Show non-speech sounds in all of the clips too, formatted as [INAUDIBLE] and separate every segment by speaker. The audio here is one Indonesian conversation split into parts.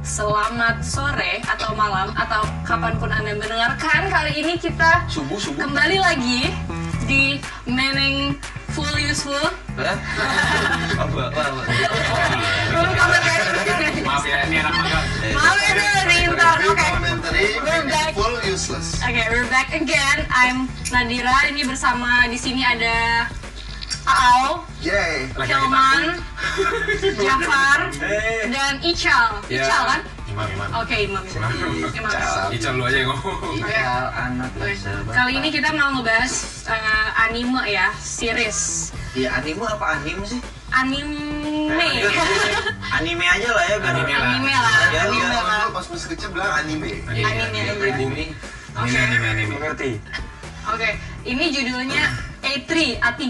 Speaker 1: Selamat sore atau malam atau kapanpun Anda mendengarkan Kali ini kita
Speaker 2: Subuh, subuh.
Speaker 1: kembali lagi di Meneng Full Useful
Speaker 3: [LAUGHS]
Speaker 2: Hah? Apa, apa, apa?
Speaker 3: Iya.
Speaker 1: Belum kabar kayak gini.
Speaker 4: Maaf ya, ini anak magang.
Speaker 1: Maaf ya dulu di intro,
Speaker 5: Review
Speaker 1: oke
Speaker 5: commentary,
Speaker 1: We're back.
Speaker 5: full useless.
Speaker 1: Oke, we're back again. I'm Nadira. Ini bersama di sini ada Aal,
Speaker 5: Yay.
Speaker 4: Laki-laki
Speaker 1: Hilman, Jafar, dan Ical.
Speaker 4: Ya.
Speaker 1: Ical kan?
Speaker 4: Imam, imam.
Speaker 1: Oke, Imam. Imam.
Speaker 4: Ical lu aja yang ngomong.
Speaker 3: Iya,
Speaker 5: Ical anak
Speaker 1: Oke.
Speaker 5: bersahabat.
Speaker 1: Kali ini kita mau ngebahas eh, anime ya, series.
Speaker 5: Ya anime apa anime sih?
Speaker 1: Anime.
Speaker 5: Anime aja lah ya biar
Speaker 4: Anime.
Speaker 1: anime lah,
Speaker 3: Iya,
Speaker 5: Ya,
Speaker 1: anime
Speaker 5: ya,
Speaker 1: lah.
Speaker 5: pas masih kecil bilang anime.
Speaker 1: Anime aja.
Speaker 5: Pribumi.
Speaker 4: Anime, anime, anime.
Speaker 1: Oke, ini judulnya A3, A3,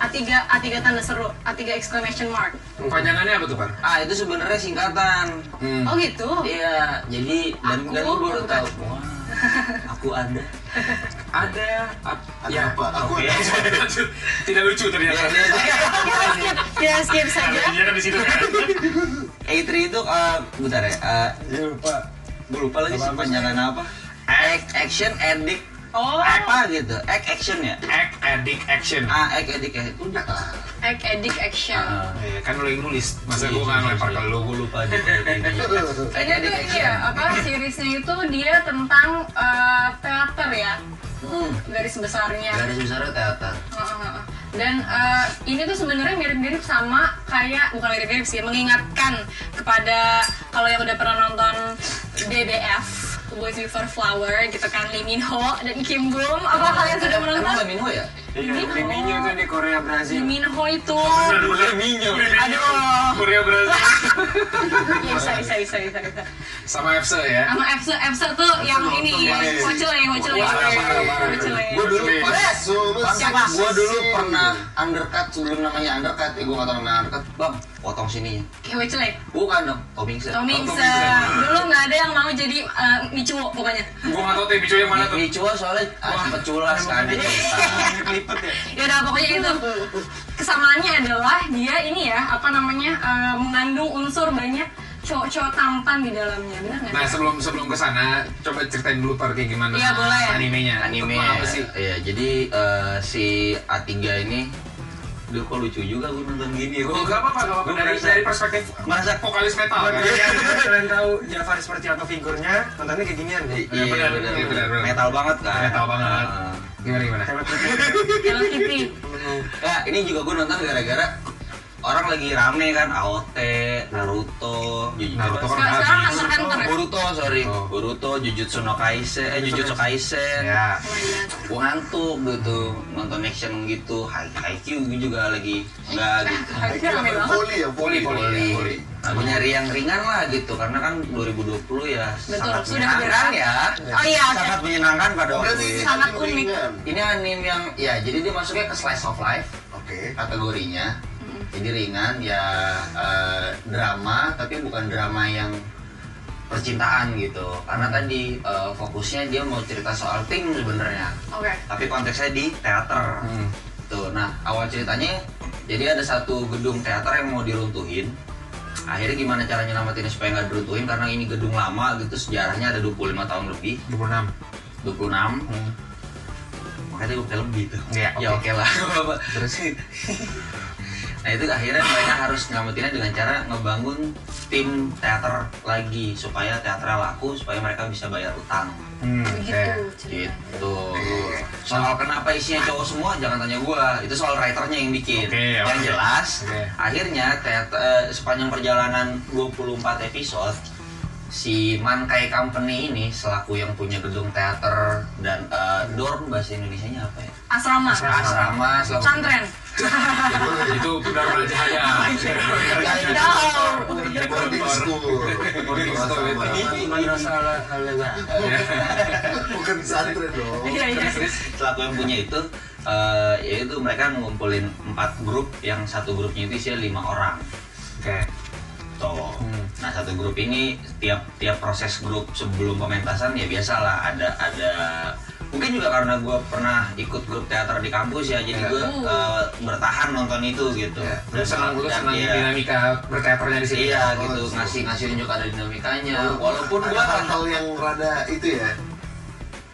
Speaker 1: A3, A3 tanda seru, A3 exclamation mark.
Speaker 4: Panjangannya apa tuh, Pak?
Speaker 3: Ah itu sebenarnya singkatan.
Speaker 4: Hmm.
Speaker 1: Oh gitu.
Speaker 3: Iya, jadi dan
Speaker 1: Aku
Speaker 3: dan gue baru
Speaker 1: bukan.
Speaker 3: tahu. [LAUGHS] Wah, aku ada.
Speaker 4: Ada. ap-
Speaker 5: Ada
Speaker 4: ya.
Speaker 5: apa? Aku
Speaker 4: Oke.
Speaker 5: ada.
Speaker 4: Lanjut. [LAUGHS] Tidak lucu
Speaker 3: Ya,
Speaker 4: ternyata.
Speaker 1: Kita skip, kita skip saja.
Speaker 4: Ada dia kan di situ kan.
Speaker 3: A3 itu eh bentar ya. eh,
Speaker 5: Ya lupa.
Speaker 3: gue lupa lagi sih panjangan apa. Act, action addict
Speaker 1: Oh,
Speaker 3: apa gitu? Act action ya.
Speaker 4: Act, addict, action.
Speaker 3: Ah, act addict ya. Udah.
Speaker 1: act addict action.
Speaker 3: Ah,
Speaker 4: Iya, kan lu yang nulis. Masa gua nggak ngelempar ke lu, gua lupa.
Speaker 1: Ini tuh iya, apa seriesnya itu dia tentang eh, teater ya,
Speaker 3: hmm.
Speaker 1: garis besarnya.
Speaker 5: Garis besarnya teater.
Speaker 1: Heeh. Dan eh, ini tuh sebenarnya mirip-mirip sama kayak bukan mirip-mirip sih, mengingatkan kepada kalau yang udah pernah nonton DBF Boys Before Flower gitu kan Lee Min Ho dan Kim Bum apa kalian sudah
Speaker 3: Emang
Speaker 1: menonton?
Speaker 3: Lamino ya?
Speaker 1: Lee Min Ho,
Speaker 4: di Korea Brazil.
Speaker 1: Lee Min Ho itu
Speaker 4: Aduh, Leminyo.
Speaker 1: Aduh.
Speaker 4: Korea Brazil.
Speaker 1: ya, bisa bisa bisa bisa bisa
Speaker 4: Sama FC ya.
Speaker 1: sama Efsa Efsa tuh yang
Speaker 5: nonton,
Speaker 1: ini
Speaker 5: ya.
Speaker 1: kocel ya kocel ya
Speaker 4: Parah, parah, parah.
Speaker 1: kocel ya
Speaker 5: Gue dulu
Speaker 4: Oke.
Speaker 5: pas
Speaker 3: Siapa?
Speaker 5: Gue dulu pernah undercut sebelum namanya undercut ya gue nggak tahu namanya undercut.
Speaker 3: Bang, potong sini.
Speaker 1: kocel ya
Speaker 3: Bukan dong, Tommy Sir.
Speaker 1: Tommy
Speaker 4: Tommy
Speaker 1: Sir.
Speaker 4: Sir.
Speaker 1: dulu nggak ada yang mau jadi eh, Michu pokoknya
Speaker 4: Gua nggak tahu tim bicu yang mana tuh.
Speaker 3: Michua soalnya
Speaker 4: iya.
Speaker 3: ah, sempet culas kan di cerita.
Speaker 4: Kelipet ya.
Speaker 1: ya udah pokoknya itu kesamaannya adalah dia ini ya apa namanya eh, mengandung unsur banyak cowok-cowok tampan di dalamnya benar nggak
Speaker 4: Nah sebelum sebelum ke sana, coba ceritain dulu par kayak gimana
Speaker 1: Iya, boleh.
Speaker 4: animenya.
Speaker 3: anime
Speaker 4: Tentang apa sih?
Speaker 3: ya jadi eh, si A3 ini Duh kok lucu juga gue nonton gini
Speaker 4: Gue gak Iya, apa-apa, gak apa-apa.
Speaker 3: Gua
Speaker 4: Dari,
Speaker 3: merasa-
Speaker 4: dari perspektif
Speaker 3: merasa-
Speaker 4: vokalis metal kan?
Speaker 6: Biar kalian tahu Jafar seperti apa figurnya, nontonnya kayak ginian ya.
Speaker 3: Iya,
Speaker 4: Iya, benar,
Speaker 3: benar,
Speaker 4: iya, benar, benar.
Speaker 3: metal banget kan
Speaker 4: Metal banget.
Speaker 3: Nah,
Speaker 4: Gimana gimana?
Speaker 6: Hebat
Speaker 1: Hello Kitty
Speaker 3: nah, ini juga gue nonton gara-gara orang lagi rame kan AOT Naruto Jujutsu
Speaker 4: Naruto kan
Speaker 1: sekarang sekarang
Speaker 4: habis.
Speaker 1: hunter hunter ya? oh
Speaker 3: Boruto sorry
Speaker 4: Oh.
Speaker 3: Boruto Jujutsu no Kaisen eh Jujutsu Kaisen
Speaker 1: my
Speaker 4: Ya.
Speaker 1: God.
Speaker 3: gue ngantuk gitu nonton action gitu Haikyuu gue juga lagi enggak gitu
Speaker 1: Akhirnya rame banget
Speaker 5: Poli ya,
Speaker 4: Poli, poli,
Speaker 3: Poli.
Speaker 4: poli.
Speaker 3: Aku nyari yang ringan lah gitu karena kan 2020 ya
Speaker 1: Betul,
Speaker 3: sangat
Speaker 1: sudah
Speaker 3: menyenangkan
Speaker 1: berat.
Speaker 3: ya.
Speaker 1: oh iya oke
Speaker 3: Sangat menyenangkan pada waktu
Speaker 5: Berarti ini
Speaker 3: itu.
Speaker 1: Sangat
Speaker 5: anime
Speaker 1: unik.
Speaker 5: ringan.
Speaker 3: Oh, Ini anime yang ya jadi dia masuknya ke slice of life
Speaker 5: Oke.
Speaker 3: kategorinya. Jadi ringan ya eh, drama tapi bukan drama yang percintaan gitu karena tadi eh, fokusnya dia mau cerita soal tim sebenarnya
Speaker 1: oke
Speaker 3: tapi konteksnya di teater
Speaker 4: Hmm.
Speaker 3: tuh nah awal ceritanya jadi ada satu gedung teater yang mau diruntuhin akhirnya gimana cara nyelamatinnya supaya nggak diruntuhin karena ini gedung lama gitu sejarahnya ada 25 tahun lebih
Speaker 4: 26.
Speaker 3: 26 makanya gue film gitu
Speaker 4: Hmm. Iya,
Speaker 3: ya oke
Speaker 4: oke.
Speaker 3: lah [LAUGHS] terus nah itu akhirnya mereka harus nyelamatinnya dengan cara ngebangun tim teater lagi supaya teater laku supaya mereka bisa bayar utang
Speaker 4: Hmm.
Speaker 1: begitu
Speaker 6: Eh,
Speaker 4: kayak-
Speaker 1: cerita
Speaker 3: gitu soal kenapa isinya cowok semua jangan tanya gua itu soal writernya yang bikin
Speaker 4: Oke,
Speaker 3: yang
Speaker 4: oke.
Speaker 3: jelas
Speaker 4: Oke.
Speaker 3: akhirnya teat- eh, sepanjang perjalanan 24 episode si Mankai Company ini selaku yang punya gedung teater dan eh, dorm bahasa Indonesianya apa ya
Speaker 1: asrama
Speaker 3: asrama selaku
Speaker 1: santren
Speaker 4: Itu Dharma Jaya.
Speaker 1: Iya, Jauh.
Speaker 5: Boarding school.
Speaker 4: Boarding school.
Speaker 6: masalah hal
Speaker 5: Bukan santri dong.
Speaker 1: iya iya
Speaker 3: selaku yang punya itu eh, yaitu mereka ngumpulin empat grup yang satu grupnya itu isinya lima orang
Speaker 4: Oke.
Speaker 3: Tuh.
Speaker 4: Hmm.
Speaker 3: Nah satu grup ini tiap tiap proses grup sebelum pementasan ya biasalah ada ada mungkin juga karena gue pernah ikut grup teater di kampus ya jadi
Speaker 4: Iya.
Speaker 3: gue
Speaker 1: Uh.
Speaker 3: eh, bertahan nonton itu gitu
Speaker 4: Ya, lu senang lu
Speaker 3: Dan
Speaker 4: senang
Speaker 3: iya,
Speaker 4: dinamika berteaternya di sini.
Speaker 3: iya
Speaker 5: Oh,
Speaker 3: gitu
Speaker 5: justru.
Speaker 3: ngasih ngasih unjuk ada dinamikanya Iya, walaupun
Speaker 5: ada
Speaker 3: gue
Speaker 5: hal-hal yang rada itu ya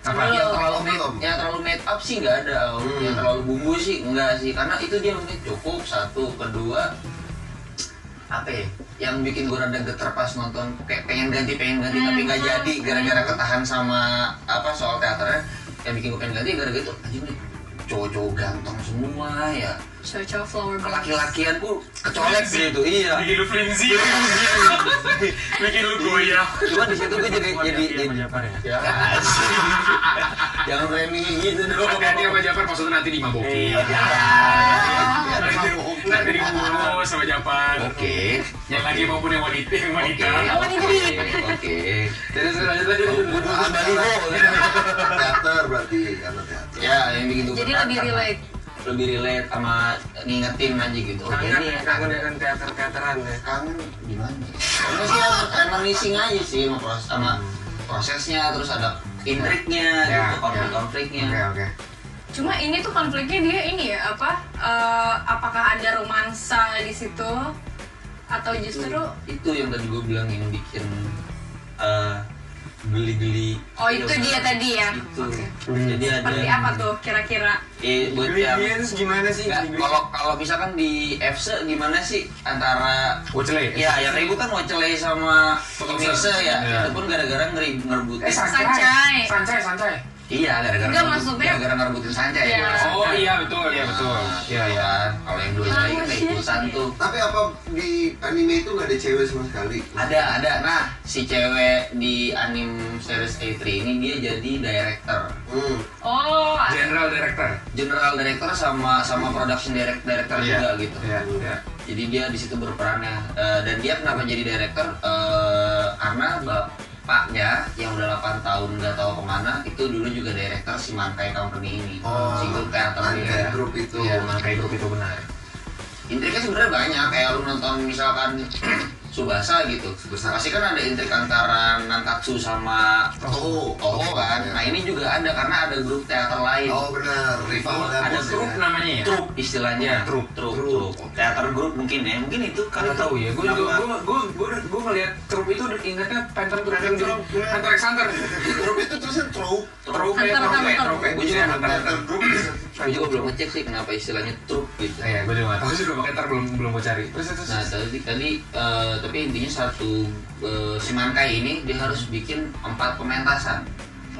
Speaker 4: Apa?
Speaker 1: Belum.
Speaker 3: ya, yang terlalu made,
Speaker 5: Belum.
Speaker 3: yang terlalu made up sih nggak ada Om.
Speaker 5: Hmm.
Speaker 3: yang terlalu bumbu sih nggak sih karena itu dia mungkin cukup satu kedua apa ya yang bikin gue rada geter pas nonton kayak pengen ganti pengen ganti
Speaker 1: Hmm.
Speaker 3: tapi nggak jadi gara-gara ketahan sama apa soal teaternya yang bikin gue pengen ganti gara-gara itu anjing nih cowok-cowok ganteng semua ya
Speaker 1: Cowok-cowok flower girl.
Speaker 3: laki-lakian ku kecolek gitu iya
Speaker 4: Bikin lu flimsy. Bikin lu goyah.
Speaker 3: cuman di situ gue jadi
Speaker 6: Iya,
Speaker 3: jadi jadi
Speaker 5: ya
Speaker 3: jangan berani gitu dong
Speaker 4: Hati-hati sama Jafar maksudnya nanti dimabokin.
Speaker 3: Iya.
Speaker 5: ya, mabuk.
Speaker 4: Nanti dibunuh sama Jafar.
Speaker 3: oke
Speaker 4: Yang lagi maupun yang wanita, yang wanita.
Speaker 3: oke oke
Speaker 4: Terus lanjut lanjut.
Speaker 5: Ah, teater berarti karena teater
Speaker 3: ya yang bikin gue
Speaker 1: Jadi
Speaker 3: berat
Speaker 1: lebih
Speaker 3: karena
Speaker 1: relate.
Speaker 3: lebih relate sama ngingetin aja gitu oh,
Speaker 6: kangen
Speaker 3: ini
Speaker 6: ya, kangen dengan teater teateran ya
Speaker 5: kangen gimana
Speaker 3: karena sih reminiscing aja sih sama, proses, sama prosesnya terus ada intriknya
Speaker 5: Ya,
Speaker 3: gitu konflik-konfliknya
Speaker 1: ya.
Speaker 5: oke oke
Speaker 1: Cuma ini tuh konfliknya dia ini ya apa? eh, apakah ada romansa di situ? Atau Ya, justru
Speaker 3: itu yang tadi gue bilang yang bikin eh, geli-geli
Speaker 1: Oh itu dia tadi ya.
Speaker 3: itu
Speaker 1: Oke.
Speaker 3: jadi Gitu. ada
Speaker 1: Seperti apa tuh kira-kira?
Speaker 3: eh, buat yang
Speaker 6: Ingredients gimana sih?
Speaker 3: Nggak,
Speaker 6: Ingredients?
Speaker 3: kalau kalau misalkan di FC gimana sih antara
Speaker 4: Wocele.
Speaker 3: ya yang ributan Wacele sama Pemirsa ya
Speaker 4: Iya.
Speaker 3: itu pun gara-gara ngeri- ngerebutin
Speaker 4: Eh
Speaker 1: Sancai.
Speaker 4: sancai. Sancai sancai.
Speaker 3: iya gara-gara
Speaker 1: Enggak,
Speaker 3: ngerebut-
Speaker 1: maksudnya-
Speaker 3: gara-gara ngerebutin Sanca ya
Speaker 1: Iya.
Speaker 3: gimana?
Speaker 4: Oh iya betul, iya betul. Iya
Speaker 3: Iya,
Speaker 4: iya.
Speaker 3: kan? kalau yang dua
Speaker 1: Kamu
Speaker 3: lagi ikutan
Speaker 1: sih.
Speaker 3: tuh
Speaker 5: tapi apa di anime itu nggak ada cewek sama sekali
Speaker 3: ada ada nah si cewek di anim series A3 ini dia jadi director
Speaker 5: hmm.
Speaker 1: Oh,
Speaker 4: General Director.
Speaker 3: general director sama sama production direct- director juga gitu
Speaker 4: Iya, iya.
Speaker 3: jadi dia di situ berperannya Eh, dan dia kenapa jadi director Eh, karena bapaknya yang udah 8 tahun nggak tahu kemana itu dulu juga director si Mankai Company ini
Speaker 5: Oh,
Speaker 3: si grup teater
Speaker 5: Mankai
Speaker 3: ini ya.
Speaker 5: Group itu.
Speaker 3: Iya, Mankai Group itu benar intriknya sebenarnya banyak kayak lu nonton misalkan [CLEARS THROAT] Subasa gitu
Speaker 5: Tsubasa.
Speaker 3: pasti kan ada intrik antara Nankatsu sama
Speaker 5: oh
Speaker 3: Toho kan nah ini juga ada karena ada grup teater lain
Speaker 5: oh benar rival
Speaker 4: Ada
Speaker 5: gabus,
Speaker 4: grup
Speaker 5: ya.
Speaker 4: namanya ya?
Speaker 3: Trup istilahnya
Speaker 4: Trup.
Speaker 3: trup,
Speaker 5: Trup.
Speaker 3: trup. teater grup mungkin ya mungkin itu karena
Speaker 4: Kalau tahu ya, gue juga gue gue gue gue ngeliat trup itu udah ingetnya Phantom Phantom iya. Troop, Hunter x Hunter.
Speaker 5: grup itu tulisan troupe
Speaker 4: Trup ya,
Speaker 1: Hunter,
Speaker 4: trup ya,
Speaker 1: Hunter.
Speaker 4: trup ya.
Speaker 3: Gue juga nggak
Speaker 4: Hunter.
Speaker 5: teater grup bisa
Speaker 3: Gue juga belum ngecek sih kenapa istilahnya trup gitu.
Speaker 4: Iya, gue juga nggak tahu juga makanya ntar belum belum gue cari. Terus terus.
Speaker 3: Nah tadi tadi eh, tapi intinya satu eh, si Mankai ini dia harus bikin empat pementasan.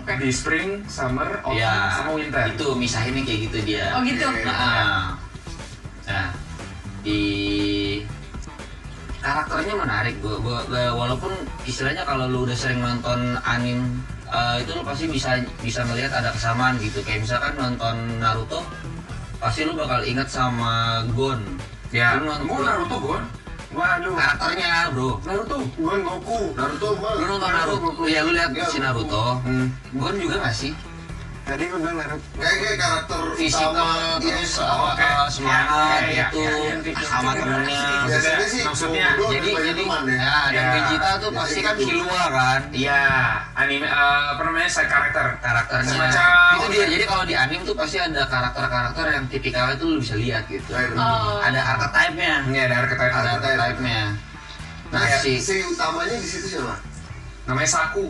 Speaker 1: oke.
Speaker 4: Nah, Di spring, summer, autumn, sama winter.
Speaker 3: itu misahinnya kayak gitu dia.
Speaker 1: Oh gitu.
Speaker 3: Nah, ah. nah, di karakternya menarik gua, gua, gua- walaupun istilahnya kalau lu udah sering nonton anim eh, itu lu pasti bisa bisa melihat ada kesamaan gitu kayak misalkan nonton Naruto pasti lu bakal ingat sama Gon
Speaker 4: Ya.
Speaker 3: lu nonton
Speaker 4: Gue Naruto gue.
Speaker 6: waduh
Speaker 3: karakternya bro
Speaker 4: Naruto.
Speaker 6: Gon Goku
Speaker 5: Naruto mah
Speaker 3: lu nonton Naruto lu ya lu lihat si Naruto
Speaker 6: Hmm.
Speaker 3: Gon juga gak sih
Speaker 6: tadi gue bilang Naruto
Speaker 5: kayak kayak karakter
Speaker 3: fisikal
Speaker 5: utama iya,
Speaker 3: terus
Speaker 5: utama.
Speaker 3: apa, eh, semangat
Speaker 4: Ya, ya,
Speaker 3: gitu
Speaker 4: ya, ya, ya, ya.
Speaker 3: sama temennya
Speaker 5: biasanya sih
Speaker 4: Maksudnya,
Speaker 5: Bodo
Speaker 3: jadi
Speaker 5: banyak
Speaker 3: jadi
Speaker 5: teman ya
Speaker 3: ya, dan
Speaker 4: Ya.
Speaker 3: Vegeta tuh
Speaker 5: Jadi
Speaker 3: pasti kan
Speaker 5: gitu.
Speaker 3: Killua kan
Speaker 4: Iya, anime eh, apa namanya side karakter.
Speaker 3: karakternya
Speaker 4: Semacam-
Speaker 3: itu dia jadi kalau di anime tuh pasti ada karakter-karakter yang tipikalnya tuh lu bisa lihat gitu
Speaker 5: Kayak
Speaker 1: Oh.
Speaker 3: ada archetype-nya
Speaker 4: Ini Iya, ada archetype
Speaker 3: ada
Speaker 5: Archetype.
Speaker 3: archetype-nya nah
Speaker 5: Kayak
Speaker 3: si
Speaker 5: si utamanya di situ siapa
Speaker 4: namanya Saku.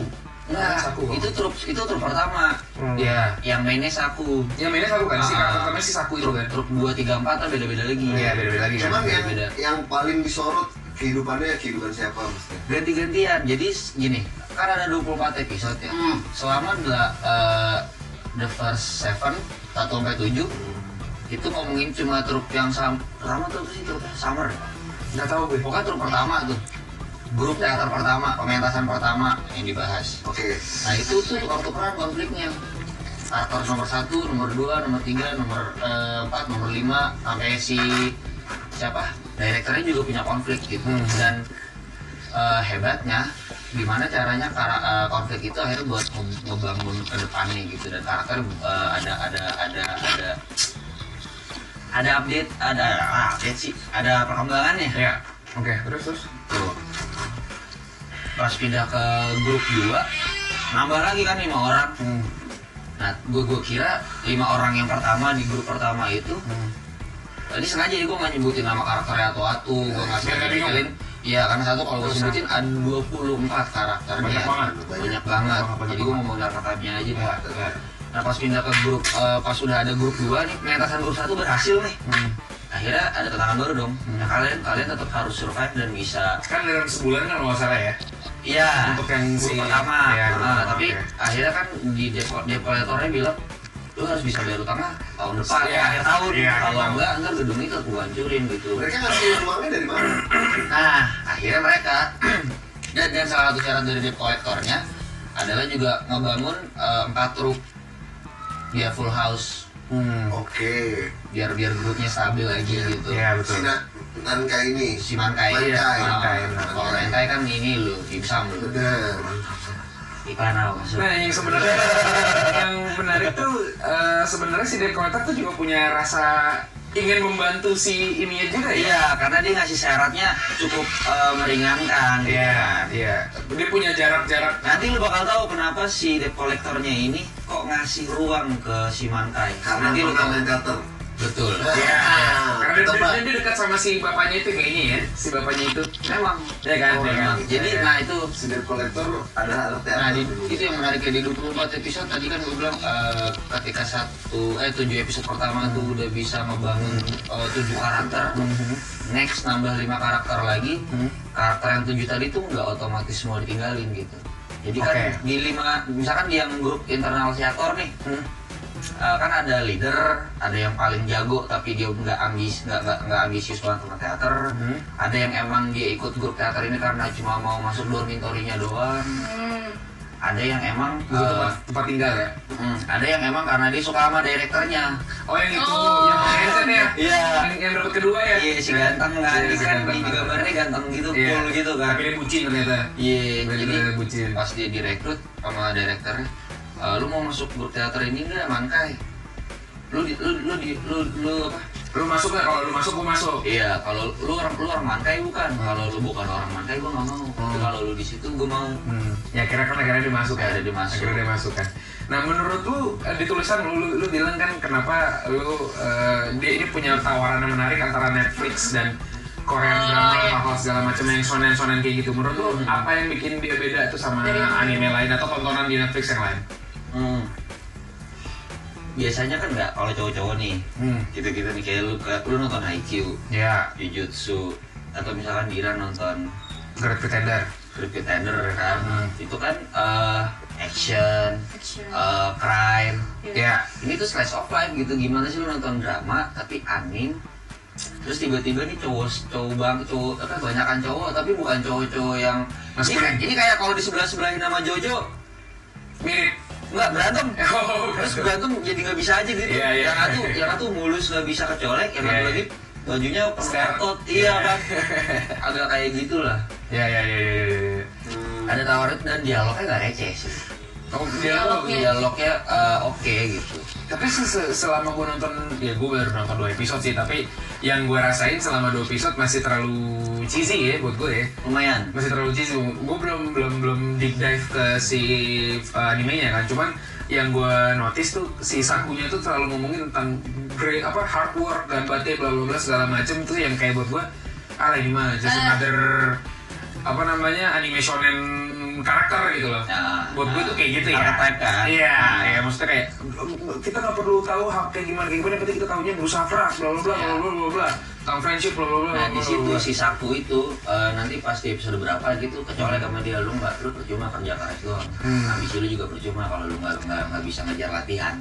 Speaker 3: nah,
Speaker 4: Saku.
Speaker 3: itu trup itu trup pertama
Speaker 4: Iya.
Speaker 3: yang mainnya Saku
Speaker 4: Yang mainnya Saku kan, si
Speaker 3: Ah.
Speaker 4: karakter namanya si Saku itu kan.
Speaker 3: trup 2, 3, 4 tuh ah, beda-beda lagi
Speaker 4: Iya, beda-beda lagi kan.
Speaker 5: cuman yang
Speaker 3: beda.
Speaker 5: yang paling disorot kehidupannya kehidupan siapa mesti
Speaker 3: ganti-gantian jadi s- gini kan ada 24 episode ya
Speaker 5: Hmm.
Speaker 3: selama the, eh, the first seven 1 sampai 7 itu ngomongin cuma trup yang sama pertama tuh apa sih trupnya summer
Speaker 6: nggak tahu gue
Speaker 3: pokoknya trup pertama tuh grup teater pertama pementasan pertama yang dibahas
Speaker 5: oke
Speaker 3: nah itu tuh tukar-tukaran konfliknya aktor nomor satu nomor dua nomor tiga nomor eh, empat nomor lima sampai si siapa direkturnya juga punya konflik gitu dan eh, hebatnya gimana caranya kara- eh, konflik itu akhirnya buat nge- ngebangun ke depannya gitu dan karakter eh, ada ada ada ada ada update ada ah, update sih ada perkembangannya
Speaker 4: Iya. Oke, terus terus.
Speaker 3: Tuh.
Speaker 2: Hmm.
Speaker 3: Pas pindah ke grup 2 nambah lagi kan lima orang. Nah, gue gue kira lima orang yang pertama di grup pertama itu
Speaker 2: Hmm.
Speaker 3: tadi sengaja gue nggak nyebutin nama karakternya atau atu, gue nggak
Speaker 4: biar nggak bingung.
Speaker 3: sebutin. Iya, karena satu kalau gue sebutin ada 24 karakternya.
Speaker 2: Banyak banget.
Speaker 3: Banyak
Speaker 2: Banyak
Speaker 3: banget.
Speaker 2: banget.
Speaker 3: Jadi gue ngomong karakternya aja.
Speaker 2: Iya,
Speaker 3: Pak. Nah pas pindah ke grup, eh, pas sudah ada grup dua nih, pengetasan grup satu berhasil nih.
Speaker 2: Hmm.
Speaker 3: Akhirnya ada tantangan baru dong. Nah kalian kalian tetap harus survive dan bisa.
Speaker 2: Kan dalam sebulan kan kalau nggak salah ya.
Speaker 3: Iya.
Speaker 2: Untuk yang
Speaker 3: grup
Speaker 2: si-
Speaker 3: pertama.
Speaker 2: iya,
Speaker 3: Ah,
Speaker 2: grup pertama,
Speaker 3: tapi
Speaker 2: oke.
Speaker 3: akhirnya kan di depo- depoletornya bilang lu harus bisa bayar utangnya tahun depan,
Speaker 2: Iya.
Speaker 3: akhir tahun.
Speaker 2: Iya, akhir
Speaker 3: Kalau
Speaker 2: tahun.
Speaker 3: enggak, enggak gedung itu aku hancurin gitu.
Speaker 5: Mereka ngasih uangnya dari mana?
Speaker 3: Nah, akhirnya mereka [CLEARS THROAT] dan, dan salah satu syarat dari debt collectornya adalah juga ngebangun eh, empat truk biar full house
Speaker 4: Hmm.
Speaker 5: Oke.
Speaker 3: biar biar grupnya stabil lagi gitu.
Speaker 2: Iya betul.
Speaker 5: Sinak Nanka ini. Oh,
Speaker 3: Si Mankai.
Speaker 5: Mankai.
Speaker 3: ya. Ah,
Speaker 2: Mankai, benar.
Speaker 3: Kalau Mankai kan ini lu, Dimsum lu.
Speaker 5: Benar.
Speaker 3: Iklan apa maksud?
Speaker 4: Nah, yang sebenarnya yang menarik tuh eh, sebenarnya si dekorator tuh juga punya rasa ingin membantu si ininya juga ya.
Speaker 3: Iya, karena dia ngasih syaratnya cukup eh, meringankan. gitu
Speaker 2: Iya,
Speaker 3: kan.
Speaker 2: iya.
Speaker 4: Dia punya jarak-jarak.
Speaker 3: Nanti lu bakal tahu kenapa si debt collectornya ini kok ngasih ruang ke si Mankai.
Speaker 5: Karena
Speaker 3: Nanti lu
Speaker 5: pernah
Speaker 3: tahu. Nah,
Speaker 5: main teater.
Speaker 3: Betul.
Speaker 4: Iya.
Speaker 5: Nah,
Speaker 4: Karena dia,
Speaker 5: Tebak.
Speaker 4: dia- dia dekat sama si bapaknya itu kayaknya ya, si bapaknya itu.
Speaker 3: Memang.
Speaker 4: Ya kan,
Speaker 3: Oh,
Speaker 4: ya kan.
Speaker 3: memang. Jadi,
Speaker 4: Ya.
Speaker 3: nah itu
Speaker 5: Sinar kolektor ada anak teater. Hmm.
Speaker 3: Nah, di, itu yang menarik ya, di 24 episode tadi kan gue bilang eh, ketika satu eh 7 episode pertama tuh udah bisa ngebangun eh, tujuh karakter. Next nambah lima karakter lagi. Karakter yang tujuh tadi tuh nggak otomatis mau ditinggalin gitu. Jadi kan
Speaker 2: Oke.
Speaker 3: di lima misalkan di yang grup internal siator nih. eh, kan ada leader, ada yang paling jago tapi dia nggak ambis, nggak nggak nggak ambisius banget sama teater. Ada yang emang dia ikut grup teater ini karena cuma mau masuk dormitorinya doang
Speaker 1: Hmm.
Speaker 3: ada yang emang
Speaker 4: Itu
Speaker 3: eh,
Speaker 4: tempat, tempat tinggal ya.
Speaker 3: mm, ada yang emang karena dia suka sama direkturnya
Speaker 4: Oh yang itu,
Speaker 1: Oh.
Speaker 4: yang headset ya.
Speaker 3: Iya.
Speaker 4: Yang, yang dapat kedua ya.
Speaker 3: iya si ganteng kan
Speaker 4: Iya,
Speaker 3: dia
Speaker 4: si
Speaker 3: kan
Speaker 4: ganteng.
Speaker 3: di gambarnya ganteng gitu
Speaker 4: Iya.
Speaker 3: cool gitu kan
Speaker 4: Tapi dia bucin ternyata.
Speaker 3: iya jadi
Speaker 4: Bener-bener bucin.
Speaker 3: pas dia direkrut sama direkturnya "Eh, lu mau masuk grup teater ini nggak mangkai lu di, lu lu di lu lu apa
Speaker 4: Lu masuk nggak? Kalau lu masuk, gua masuk.
Speaker 3: iya kalau lu orang lu orang mangkai bukan kalau lu bukan orang mangkai gua nggak mau Tapi kalau lu di situ gua mau
Speaker 4: Hmm. Ya kira kan akhirnya dimasukkan.
Speaker 3: Akhirnya dimasuk.
Speaker 4: Akhirnya dimasukkan. Nah menurut lu eh, di tulisan lu, lu, lu bilang kan kenapa lu eh, dia ini punya tawaran yang menarik antara Netflix dan Korean
Speaker 1: Oh,
Speaker 4: drama,
Speaker 1: iya.
Speaker 4: mahal segala macam yang shonen shonen kayak gitu. Menurut lu apa yang bikin dia beda tuh sama
Speaker 1: Dari yang
Speaker 4: anime lain atau tontonan di Netflix yang lain?
Speaker 3: Hmm. Biasanya kan nggak kalau cowok-cowok nih, gitu-gitu nih kayak lu, kayak lu nonton IQ,
Speaker 4: Ya,
Speaker 3: Jujutsu, atau misalkan Dira nonton
Speaker 4: Great Pretender.
Speaker 3: Great Pretender kan, itu kan eh, action,
Speaker 1: Action.
Speaker 3: eh, crime.
Speaker 1: Iya.
Speaker 4: Ya,
Speaker 3: Ini tuh slice of life gitu, gimana sih lu nonton drama tapi anim, terus tiba-tiba nih cowok cowok bang cowok apa banyakan cowok tapi bukan cowok-cowok yang ini,
Speaker 4: Maskulin.
Speaker 3: kayak- ini kayak kalau di sebelah sebelahin sama Jojo
Speaker 4: mirip.
Speaker 3: nggak berantem
Speaker 4: [LAUGHS] Oh,
Speaker 3: terus berantem jadi nggak bisa aja gitu
Speaker 4: Iya, iya.
Speaker 3: yang satu yang satu mulus nggak bisa kecolek yang
Speaker 4: Iya,
Speaker 3: satu
Speaker 4: iya.
Speaker 3: lagi bajunya penuh
Speaker 4: Style.
Speaker 3: otot iya
Speaker 4: [LAUGHS]
Speaker 3: kan agak kayak gitulah
Speaker 4: Ya, ya, ya, ya, ya, ya.
Speaker 3: ada tawaran dan dialognya nggak receh sih
Speaker 4: Oh, dia
Speaker 1: Dialog. Oke.
Speaker 3: dialognya eh, oke gitu
Speaker 4: tapi se- se- selama gue nonton ya gue baru nonton dua episode sih tapi yang gue rasain selama dua episode masih terlalu cheesy ya buat gue ya
Speaker 3: lumayan
Speaker 4: masih terlalu cheesy gue belum belum belum deep dive ke si uh, animenya kan cuman yang gue notice tuh si sakunya tuh terlalu ngomongin tentang great apa hard work dan bla bla bla segala macem tuh yang kayak buat gue ah ini mah just
Speaker 1: Eh.
Speaker 4: another apa namanya anime shonen karakter gitu loh
Speaker 3: Nah,
Speaker 4: buat gue tuh kayak gitu ya
Speaker 3: Archetype kan.
Speaker 4: iya
Speaker 3: Nah.
Speaker 4: ya maksudnya kayak kita nggak perlu tahu hak kayak gimana kayak gimana yang penting kita tahunya berusaha keras bla bla bla
Speaker 3: Iya.
Speaker 4: bla bla bla bla tentang friendship bla bla bla
Speaker 3: nah
Speaker 4: bla,
Speaker 3: di
Speaker 4: bla,
Speaker 3: situ
Speaker 4: bla.
Speaker 3: si sapu itu eh, nanti pas di episode berapa gitu kecolek sama dia lu nggak lu percuma kerja keras doang habis itu lu juga percuma kalau lu nggak nggak nggak bisa ngejar latihan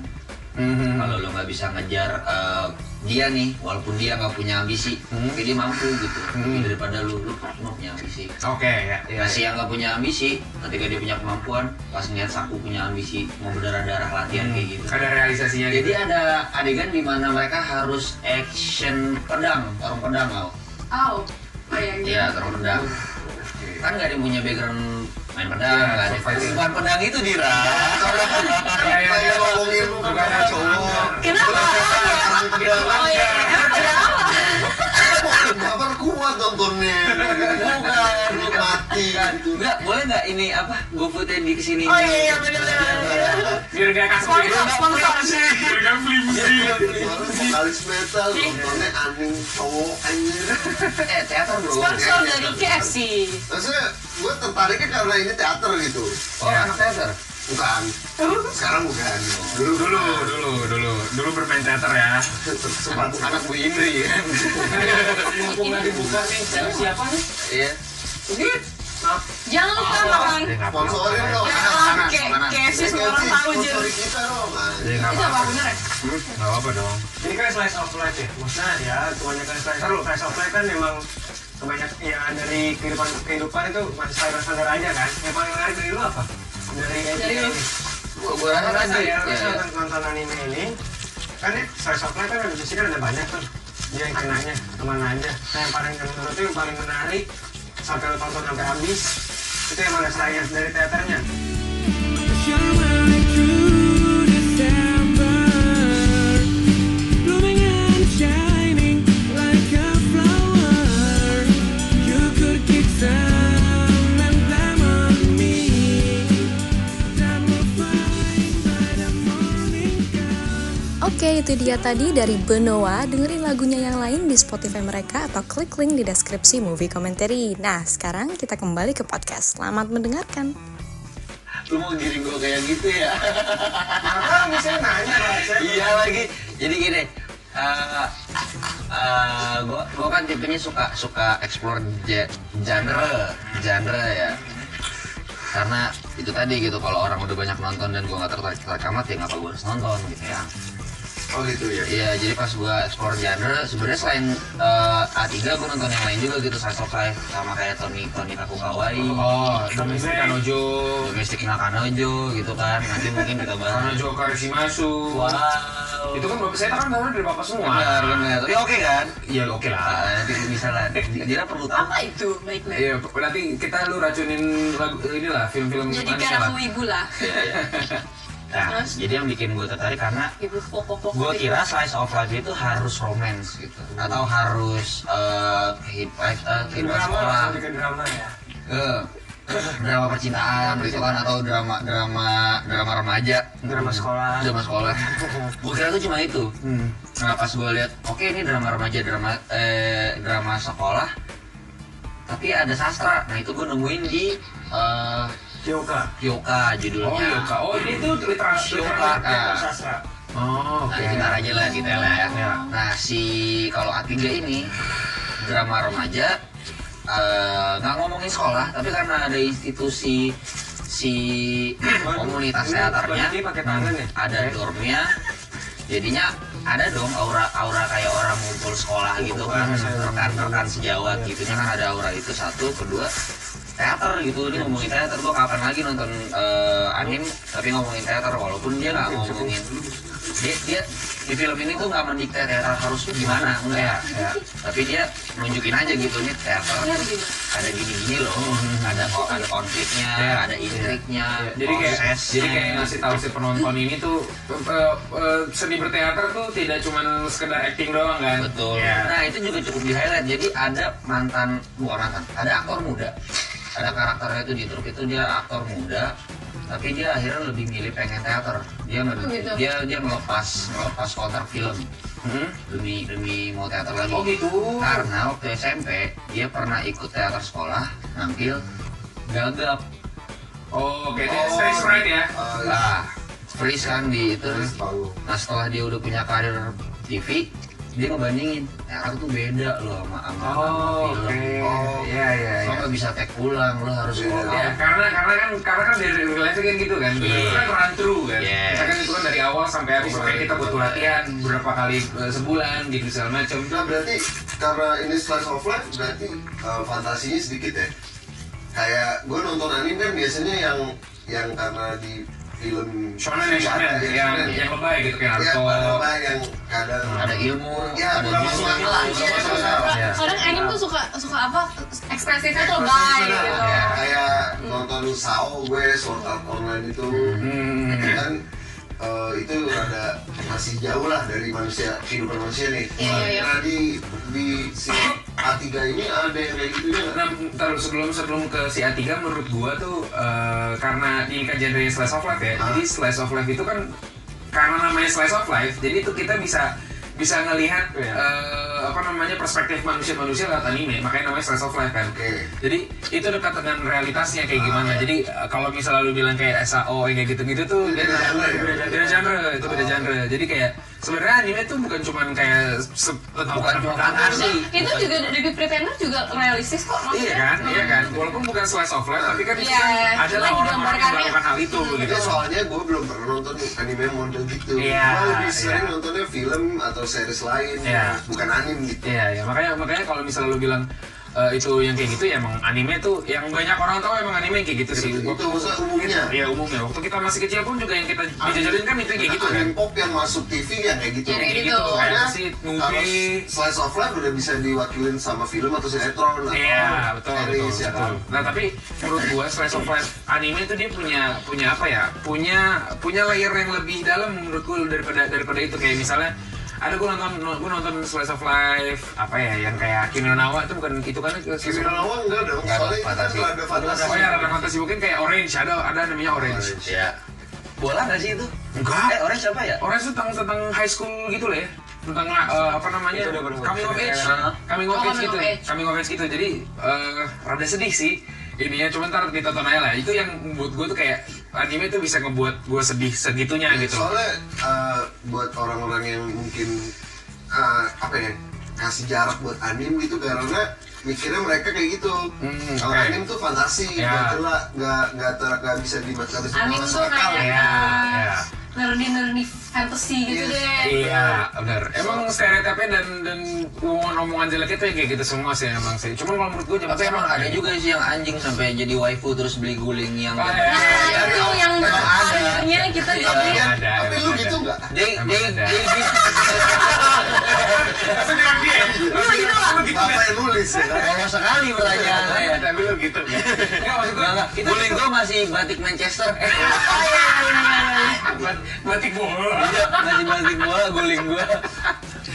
Speaker 4: Mhm.
Speaker 3: kalau lo nggak bisa ngejar eh, dia nih walaupun dia nggak punya ambisi tapi dia mampu gitu Lebih daripada lu lu cuma punya ambisi
Speaker 4: Oke ya, ya.
Speaker 3: Nah, si yang nggak punya ambisi ketika dia punya kemampuan pas ngeliat saku punya ambisi mau berdarah darah latihan kayak gitu
Speaker 4: Ada realisasinya gitu.
Speaker 3: jadi ada adegan di mana mereka harus action pedang tarung pedang loh
Speaker 1: Oh. Oh iya. iya.
Speaker 3: iya tarung pedang kan nggak ada yang punya background main pedang
Speaker 4: Iya,
Speaker 3: nggak ada
Speaker 4: surviving.
Speaker 3: bukan pedang itu dira
Speaker 4: Ya, ya, ya.
Speaker 5: Kayak ngomongin lu kan
Speaker 4: Bukan
Speaker 5: cowok.
Speaker 1: Kenapa? Oh iya. Emang ada apa?
Speaker 5: Kabar kuat nontonnya.
Speaker 3: bukan bukan
Speaker 5: Mati gitu.
Speaker 3: Enggak, boleh nggak ini apa? Gue putein di kesini.
Speaker 6: Oh,
Speaker 1: Oh
Speaker 6: iya,
Speaker 1: iya, iya, bener, bener, bener.
Speaker 4: biar gak kasar
Speaker 1: Sponsor, sponsor.
Speaker 4: biar Iya. gak
Speaker 3: Iya.
Speaker 4: flimsy
Speaker 5: vokalis metal nontonnya anjing cowok anjir
Speaker 3: eh teater bro
Speaker 1: Sponsor dari KFC.
Speaker 5: ya. maksudnya gue tertariknya karena ini teater gitu
Speaker 3: oh anak teater
Speaker 5: bukan sekarang bukan dulu
Speaker 4: dulu dulu dulu dulu bermain teater ya
Speaker 5: sempat anak Bu Indri
Speaker 1: [LAUGHS]
Speaker 5: ya
Speaker 6: mumpung lagi buka nih cewek siapa nih
Speaker 5: iya
Speaker 1: Jangan lupa makan.
Speaker 3: Iya,
Speaker 5: sponsorin dong
Speaker 1: Ya
Speaker 5: Anak,
Speaker 1: Allah,
Speaker 5: anak,
Speaker 1: K-
Speaker 5: anak.
Speaker 1: KFC semua orang
Speaker 5: KFC,
Speaker 1: tahu Jir.
Speaker 5: sponsori kita dong anjir.
Speaker 4: Jadi nggak
Speaker 1: Itu apa
Speaker 4: apa-apa
Speaker 1: bener ya?
Speaker 4: Iya, nggak apa dong
Speaker 6: ini kan slice of life ya maksudnya ya kebanyakan slice of slice of life kan memang kebanyakan ya dari kehidupan kehidupan itu masih standar standar aja kan yang paling menarik dari lu apa dari
Speaker 1: Dari lu. Iya,
Speaker 6: ini
Speaker 3: gua gua rasa
Speaker 6: Karena kan
Speaker 3: tadi
Speaker 6: saya
Speaker 3: ya,
Speaker 6: rasa
Speaker 3: ya.
Speaker 6: nonton nonton anime ini kan ya slice of life kan ada sih kan ada banyak tuh dia yang kenanya kemana aja nah yang paling menurut itu yang paling menarik sampai lu tonton sampai habis itu yang mana selain dari teaternya
Speaker 7: Oke, itu dia tadi dari Benoa. Dengerin lagunya yang lain di Spotify mereka atau klik link di deskripsi movie commentary. Nah, sekarang kita kembali ke podcast. Selamat mendengarkan.
Speaker 5: lu mau giring gue kayak gitu ya
Speaker 6: maka misalnya nanya lah saya
Speaker 3: iya lagi jadi gini eh eh, gua gua kan tipenya suka suka explore je- genre genre ya karena itu tadi gitu kalau orang udah banyak nonton dan gua nggak tertarik tertarik amat ya ngapa gua harus nonton gitu ya
Speaker 5: oh gitu ya
Speaker 3: Iya, jadi pas gua explore genre, sebenarnya selain eh, A3 gua nonton yang lain juga gitu, Slice of Life sama kayak Tony Tony Kakukawai,
Speaker 4: oh domestik
Speaker 3: Iya.
Speaker 4: kanojo
Speaker 3: Domestic Nakanojo gitu kan, nanti mungkin kita bahas.
Speaker 4: kanojo karishimasu
Speaker 3: Wow.
Speaker 4: itu kan bapak saya kan tahu dari bapak
Speaker 3: benar
Speaker 4: semua
Speaker 3: benar. Ya oke kan?
Speaker 4: ya oke lah Ah.
Speaker 3: Ah, nanti bisa lah. Dira perlu tahu.
Speaker 1: Apa itu? Baik-baik.
Speaker 4: Iya, nanti kita lu racunin lagu inilah film-film
Speaker 1: Jadi
Speaker 4: Indonesia
Speaker 1: kayak
Speaker 4: lah.
Speaker 1: aku ibu lah.
Speaker 3: Nah,
Speaker 1: Terus?
Speaker 3: jadi yang bikin gue tertarik karena
Speaker 1: Ibu pokok-pokok. gitu.
Speaker 3: gue kira slice of life itu harus romance gitu atau harus eh kehidupan eh, kehidupan
Speaker 6: drama
Speaker 3: sekolah
Speaker 6: lebih ke drama ya
Speaker 3: Eh, drama percintaan gitu kan atau drama drama drama remaja
Speaker 6: drama sekolah
Speaker 3: drama sekolah gue kira tuh cuma itu
Speaker 1: Hmm.
Speaker 3: nah pas gue lihat oke ini drama remaja drama eh, drama sekolah tapi ada sastra nah itu gue nemuin di eh,
Speaker 6: yoga
Speaker 3: Yoka judulnya
Speaker 4: Oh, yoga. Oh, ini tuh literasi
Speaker 3: Yoka nah,
Speaker 6: sastra
Speaker 4: Oh,
Speaker 3: Nah,
Speaker 4: oke.
Speaker 3: kita aja lah kita lah
Speaker 6: Iya.
Speaker 3: ya.
Speaker 4: Ya.
Speaker 3: Nah, si kalau A3 ini drama remaja eh, nggak ngomongin sekolah, tapi karena ada institusi si [CLEARS THROAT] komunitas teaternya,
Speaker 6: Ini pakai tangan ya
Speaker 3: ada dormnya, jadinya ada dong aura aura kayak orang ngumpul sekolah
Speaker 6: Oh,
Speaker 3: gitu kan, rekan-rekan sejawat gitu kan ada aura itu satu, kedua teater gitu ini ngomongin teater gua kapan lagi nonton eh, anim tapi ngomongin teater walaupun dia nggak ngomongin dia, dia di film ini tuh nggak mendikte teater harus gimana enggak ya. tapi dia nunjukin aja gitu nih teater
Speaker 1: Bener gitu.
Speaker 3: ada gini-gini loh ada ada konfliknya
Speaker 4: Ya.
Speaker 3: ada intriknya
Speaker 4: Hmm. Iya, Jadi kayak
Speaker 3: prosesnya.
Speaker 4: jadi kayak ngasih tahu si penonton ini tuh eh, eh, seni berteater tuh tidak cuma sekedar acting doang kan.
Speaker 3: Betul.
Speaker 4: Iya.
Speaker 3: Nah itu juga cukup di highlight. Jadi ada mantan bukan mantan, ada aktor muda. Ada karakternya itu di truk itu dia aktor muda, tapi dia akhirnya lebih milih pengen teater. Dia men-
Speaker 1: Oh, gitu.
Speaker 3: dia dia melepas melepas kontrak film demi demi mau teater lagi.
Speaker 4: Oh, gitu.
Speaker 3: Karena waktu SMP dia pernah ikut teater sekolah, nampil gagap. Eh,
Speaker 4: Oh, oke. Jadi stage fright ya.
Speaker 5: Ah,
Speaker 3: Lah, freeze kan di itu.
Speaker 5: tahu
Speaker 3: Nah setelah dia udah punya karir TV, dia ngebandingin teater tuh beda loh sama sama, sama
Speaker 4: Oh,
Speaker 3: film.
Speaker 4: oke.
Speaker 3: Oh,
Speaker 4: Iya, iya,
Speaker 3: lo
Speaker 4: iya.
Speaker 3: nggak bisa tag pulang, lo harus
Speaker 5: Iya.
Speaker 3: follow
Speaker 4: Ya,
Speaker 3: up.
Speaker 4: karena karena kan karena kan dari real life kan gitu kan.
Speaker 3: Iya.
Speaker 4: Itu kan run through kan.
Speaker 3: Yes.
Speaker 4: Kita kan itu kan dari awal sampai habis makanya kita butuh latihan berapa kali eh, sebulan gitu segala macam.
Speaker 5: nah berarti karena ini slice of life berarti uh, fantasinya sedikit ya kayak gue nonton anime kan biasanya yang yang karena di film
Speaker 4: Shonen ya shonen
Speaker 5: Ya,
Speaker 4: yang
Speaker 5: shonen.
Speaker 4: yang lebay gitu kayak
Speaker 5: ya
Speaker 4: Naruto.
Speaker 5: apa yang kadang
Speaker 3: Ada ilmu,
Speaker 5: ya
Speaker 3: ada
Speaker 5: nggak
Speaker 3: jurus,
Speaker 5: masuk akal lah nggak masuk akal
Speaker 4: Iya.
Speaker 1: Kadang anime tuh suka suka apa ekspresifnya tuh
Speaker 5: Terus
Speaker 1: lebay
Speaker 5: gimana?
Speaker 4: Iya.
Speaker 1: gitu.
Speaker 5: Ya, kayak nonton Sao gue Sword Art Online itu
Speaker 4: Hmm.
Speaker 5: kan eh, itu ada masih jauh lah dari manusia kehidupan manusia nih
Speaker 1: Iya, iya, iya.
Speaker 5: nah di di si A3 ini ada yang kayak gitu ya
Speaker 4: Nah, taruh sebelum sebelum ke si A3 menurut gua tuh eh, karena ini kan genre slice of life ya.
Speaker 5: Ah.
Speaker 4: Jadi slice of life itu kan karena namanya slice of life, jadi itu kita bisa bisa ngelihat
Speaker 6: Iya.
Speaker 4: eh, apa namanya perspektif manusia-manusia lewat anime, makanya namanya slice of life kan.
Speaker 5: Oke. Ah, iya.
Speaker 4: Jadi itu dekat dengan realitasnya kayak gimana. Jadi eh, kalau misalnya lu bilang kayak SAO kayak gitu-gitu tuh
Speaker 5: Beda
Speaker 4: dia nggak-
Speaker 5: genre ya? Ah.
Speaker 4: beda- beda genre, itu beda genre. Jadi kayak sebenarnya anime itu bukan cuman kayak se- bukan
Speaker 3: cuma
Speaker 1: Maksudnya, itu juga dari Big Pretender juga realistis kok maksudnya.
Speaker 4: Iya kan, iya kan. Walaupun bukan slice of life, tapi kan itu
Speaker 1: Iya,
Speaker 4: kan ada lah
Speaker 1: cuma ya. Iya.
Speaker 4: orang-orang yang
Speaker 1: digambarkannya-
Speaker 4: melakukan hal itu gitu.
Speaker 5: Itu Iya, soalnya gue belum pernah nonton anime model gitu
Speaker 4: Iya,
Speaker 5: Gue lebih sering
Speaker 4: iya.
Speaker 5: nontonnya film atau series lain
Speaker 4: Iya.
Speaker 5: Bukan anime gitu
Speaker 4: Iya, iya. Makanya, makanya kalau misalnya lu bilang eh, itu yang kayak gitu, ya emang anime tuh yang banyak orang tahu emang anime yang kayak gitu sih.
Speaker 5: Itu
Speaker 4: Waktu-
Speaker 5: maksudnya umumnya
Speaker 4: Iya umumnya. Waktu kita masih kecil pun juga yang kita dijajarin kan itu yang kayak gitu kan.
Speaker 5: Anime pop yang masuk TV yang kayak gitu
Speaker 1: Iya, kayak
Speaker 4: Kayak
Speaker 1: gitu.
Speaker 4: gitu.
Speaker 5: Soalnya
Speaker 4: Kayak si
Speaker 5: kalau
Speaker 4: movie.
Speaker 5: slice of life udah bisa diwakilin sama film atau sinetron atau
Speaker 4: Iya betul betul,
Speaker 5: series ya
Speaker 4: betul.
Speaker 5: kan?
Speaker 4: Nah tapi menurut gua slice of life anime itu dia punya punya apa ya? Punya punya layer yang lebih dalam menurut gua daripada daripada itu kayak misalnya ada gua nonton gua nonton slice of life apa ya yang kayak Kimi no Na wa itu bukan itu kan Kimi
Speaker 5: Kriminal awal enggak dong,
Speaker 3: Enggak ada
Speaker 5: soalnya itu kan
Speaker 3: fantasi.
Speaker 5: ada fantasi
Speaker 4: Oh ya, ada fantasi mungkin kayak Orange ada ada namanya Orange.
Speaker 3: Iya. Bola nggak sih itu?
Speaker 4: Enggak.
Speaker 3: Eh, orang siapa ya?
Speaker 4: Orange itu tentang tentang high school gitu lah ya tentang eh, apa namanya
Speaker 6: Itu udah baru-
Speaker 4: coming of age
Speaker 3: Heeh.
Speaker 4: coming of
Speaker 1: Oh,
Speaker 4: age
Speaker 1: coming
Speaker 4: gitu
Speaker 1: of age.
Speaker 4: coming of age gitu jadi eh, rada sedih sih ininya cuman ntar ditonton aja lah itu yang buat gue tuh kayak anime tuh bisa ngebuat gue sedih segitunya gitu loh.
Speaker 5: Iya, Soalnya eh, buat orang-orang yang mungkin eh, apa ya kasih jarak buat anim gitu karena mikirnya mereka kayak gitu.
Speaker 4: Hmm,
Speaker 5: Kalau
Speaker 4: oke.
Speaker 5: anim tuh fantasi,
Speaker 4: Ya.
Speaker 5: nggak jelas, nggak nggak ter- nggak bisa dimakan
Speaker 1: Amin tuh kayak
Speaker 5: kan?
Speaker 4: ya, ya.
Speaker 1: nerdy-nerdy fantasy gitu
Speaker 5: Yes.
Speaker 1: deh.
Speaker 4: Iya, benar. Emang stereotipnya dan dan omongan-omongan jelek itu ya kayak gitu semua sih emang sih. Cuman kalau menurut gue
Speaker 3: Tapi emang
Speaker 4: ya.
Speaker 3: ada juga sih yang anjing sampai jadi waifu terus beli guling yang
Speaker 1: Nah,
Speaker 4: Ah, Iya,
Speaker 1: itu
Speaker 5: iya,
Speaker 1: yang
Speaker 5: memang ada.
Speaker 1: akhirnya kita
Speaker 3: Iya.
Speaker 1: jadi
Speaker 5: Tapi,
Speaker 4: Ada,
Speaker 5: tapi lu
Speaker 4: ada.
Speaker 5: gitu nggak?
Speaker 3: They,
Speaker 4: Emang
Speaker 3: they,
Speaker 4: ada.
Speaker 3: they did-
Speaker 4: Sekarang dia.
Speaker 1: Lu gitu lah.
Speaker 5: Bapak yang nulis
Speaker 4: [LAUGHS]
Speaker 5: ya kan?
Speaker 3: Kalau sekali pertanyaan saya.
Speaker 4: Tapi lu [LAUGHS] gitu. Enggak maksud gue.
Speaker 3: Enggak, enggak.
Speaker 4: itu-
Speaker 3: Guling gua masih batik Manchester.
Speaker 4: Bat- batik bola.
Speaker 3: Iya, masih batik gua, guling gua.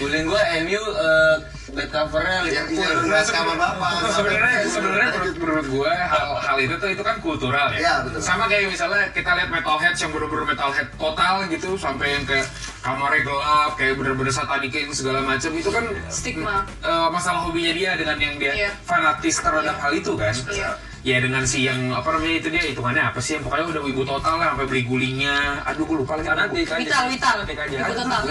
Speaker 3: Guling gua MU eh, back covernya
Speaker 5: Yang
Speaker 3: Liverpool.
Speaker 5: yang nulis sama bapak.
Speaker 4: sebenarnya sebenarnya menurut, menurut gue hal hal itu tuh itu kan kultural ya.
Speaker 5: Iya, betul.
Speaker 4: Sama kayak misalnya kita lihat metalhead yang bener-bener metalhead total gitu sampai yang kayak kamarnya gelap kayak bener-bener satanikin segala macam itu kan
Speaker 1: Stigma.
Speaker 4: eh, masalah hobinya dia dengan yang dia
Speaker 1: Iya.
Speaker 4: fanatis terhadap
Speaker 1: Iya.
Speaker 4: hal itu kan.
Speaker 1: Iya.
Speaker 4: Ya dengan si yang apa namanya itu dia hitungannya apa sih yang pokoknya udah wibu total lah sampai beli gulingnya. Aduh gue lupa lagi.
Speaker 6: Fanatik aja.
Speaker 1: Vital, vital.
Speaker 6: Fanatik aja.
Speaker 1: Ikut total.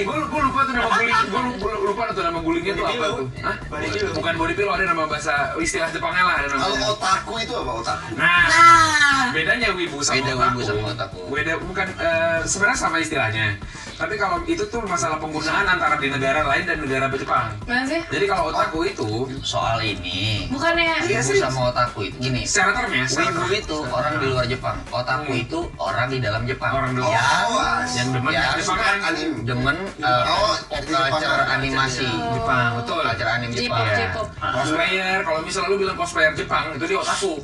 Speaker 4: gue gue lupa tuh nama guling gue lupa tuh nama gulingnya tuh apa tuh Hah?
Speaker 6: Body pillow.
Speaker 4: bukan body pillow ada nama bahasa istilah Jepangnya lah ada
Speaker 3: Oh,
Speaker 5: Kalau
Speaker 4: namanya
Speaker 5: otaku itu apa otaku?
Speaker 4: nah
Speaker 1: Nah,
Speaker 4: bedanya wibu sama
Speaker 3: Beda wibu sama otaku.
Speaker 4: beda bukan eh, sebenarnya sama istilahnya tapi kalau itu tuh masalah penggunaan antara di negara lain dan negara Jepang
Speaker 1: gimana sih?
Speaker 4: jadi kalau otaku itu
Speaker 3: Soal ini,
Speaker 1: Bukannya
Speaker 4: Iya,
Speaker 3: ibu
Speaker 4: serius.
Speaker 3: sama otaku itu gini.
Speaker 4: secara term ya secara
Speaker 3: Wibu
Speaker 4: term.
Speaker 3: itu orang di luar Jepang, otaku
Speaker 4: Hmm.
Speaker 3: itu orang di dalam Jepang.
Speaker 4: Orang di luar.
Speaker 3: Ya,
Speaker 5: Oh, as-
Speaker 4: yang demen
Speaker 3: Ya,
Speaker 4: Jepang kan
Speaker 5: anim.
Speaker 3: demen eh,
Speaker 5: Oh,
Speaker 3: culture animasi,
Speaker 4: Jepang betul
Speaker 3: culture anime Jepang.
Speaker 1: J-pop,
Speaker 3: Ya.
Speaker 1: J-pop.
Speaker 4: Iya. cosplayer kalau misalnya lu bilang cosplayer Jepang itu dia otaku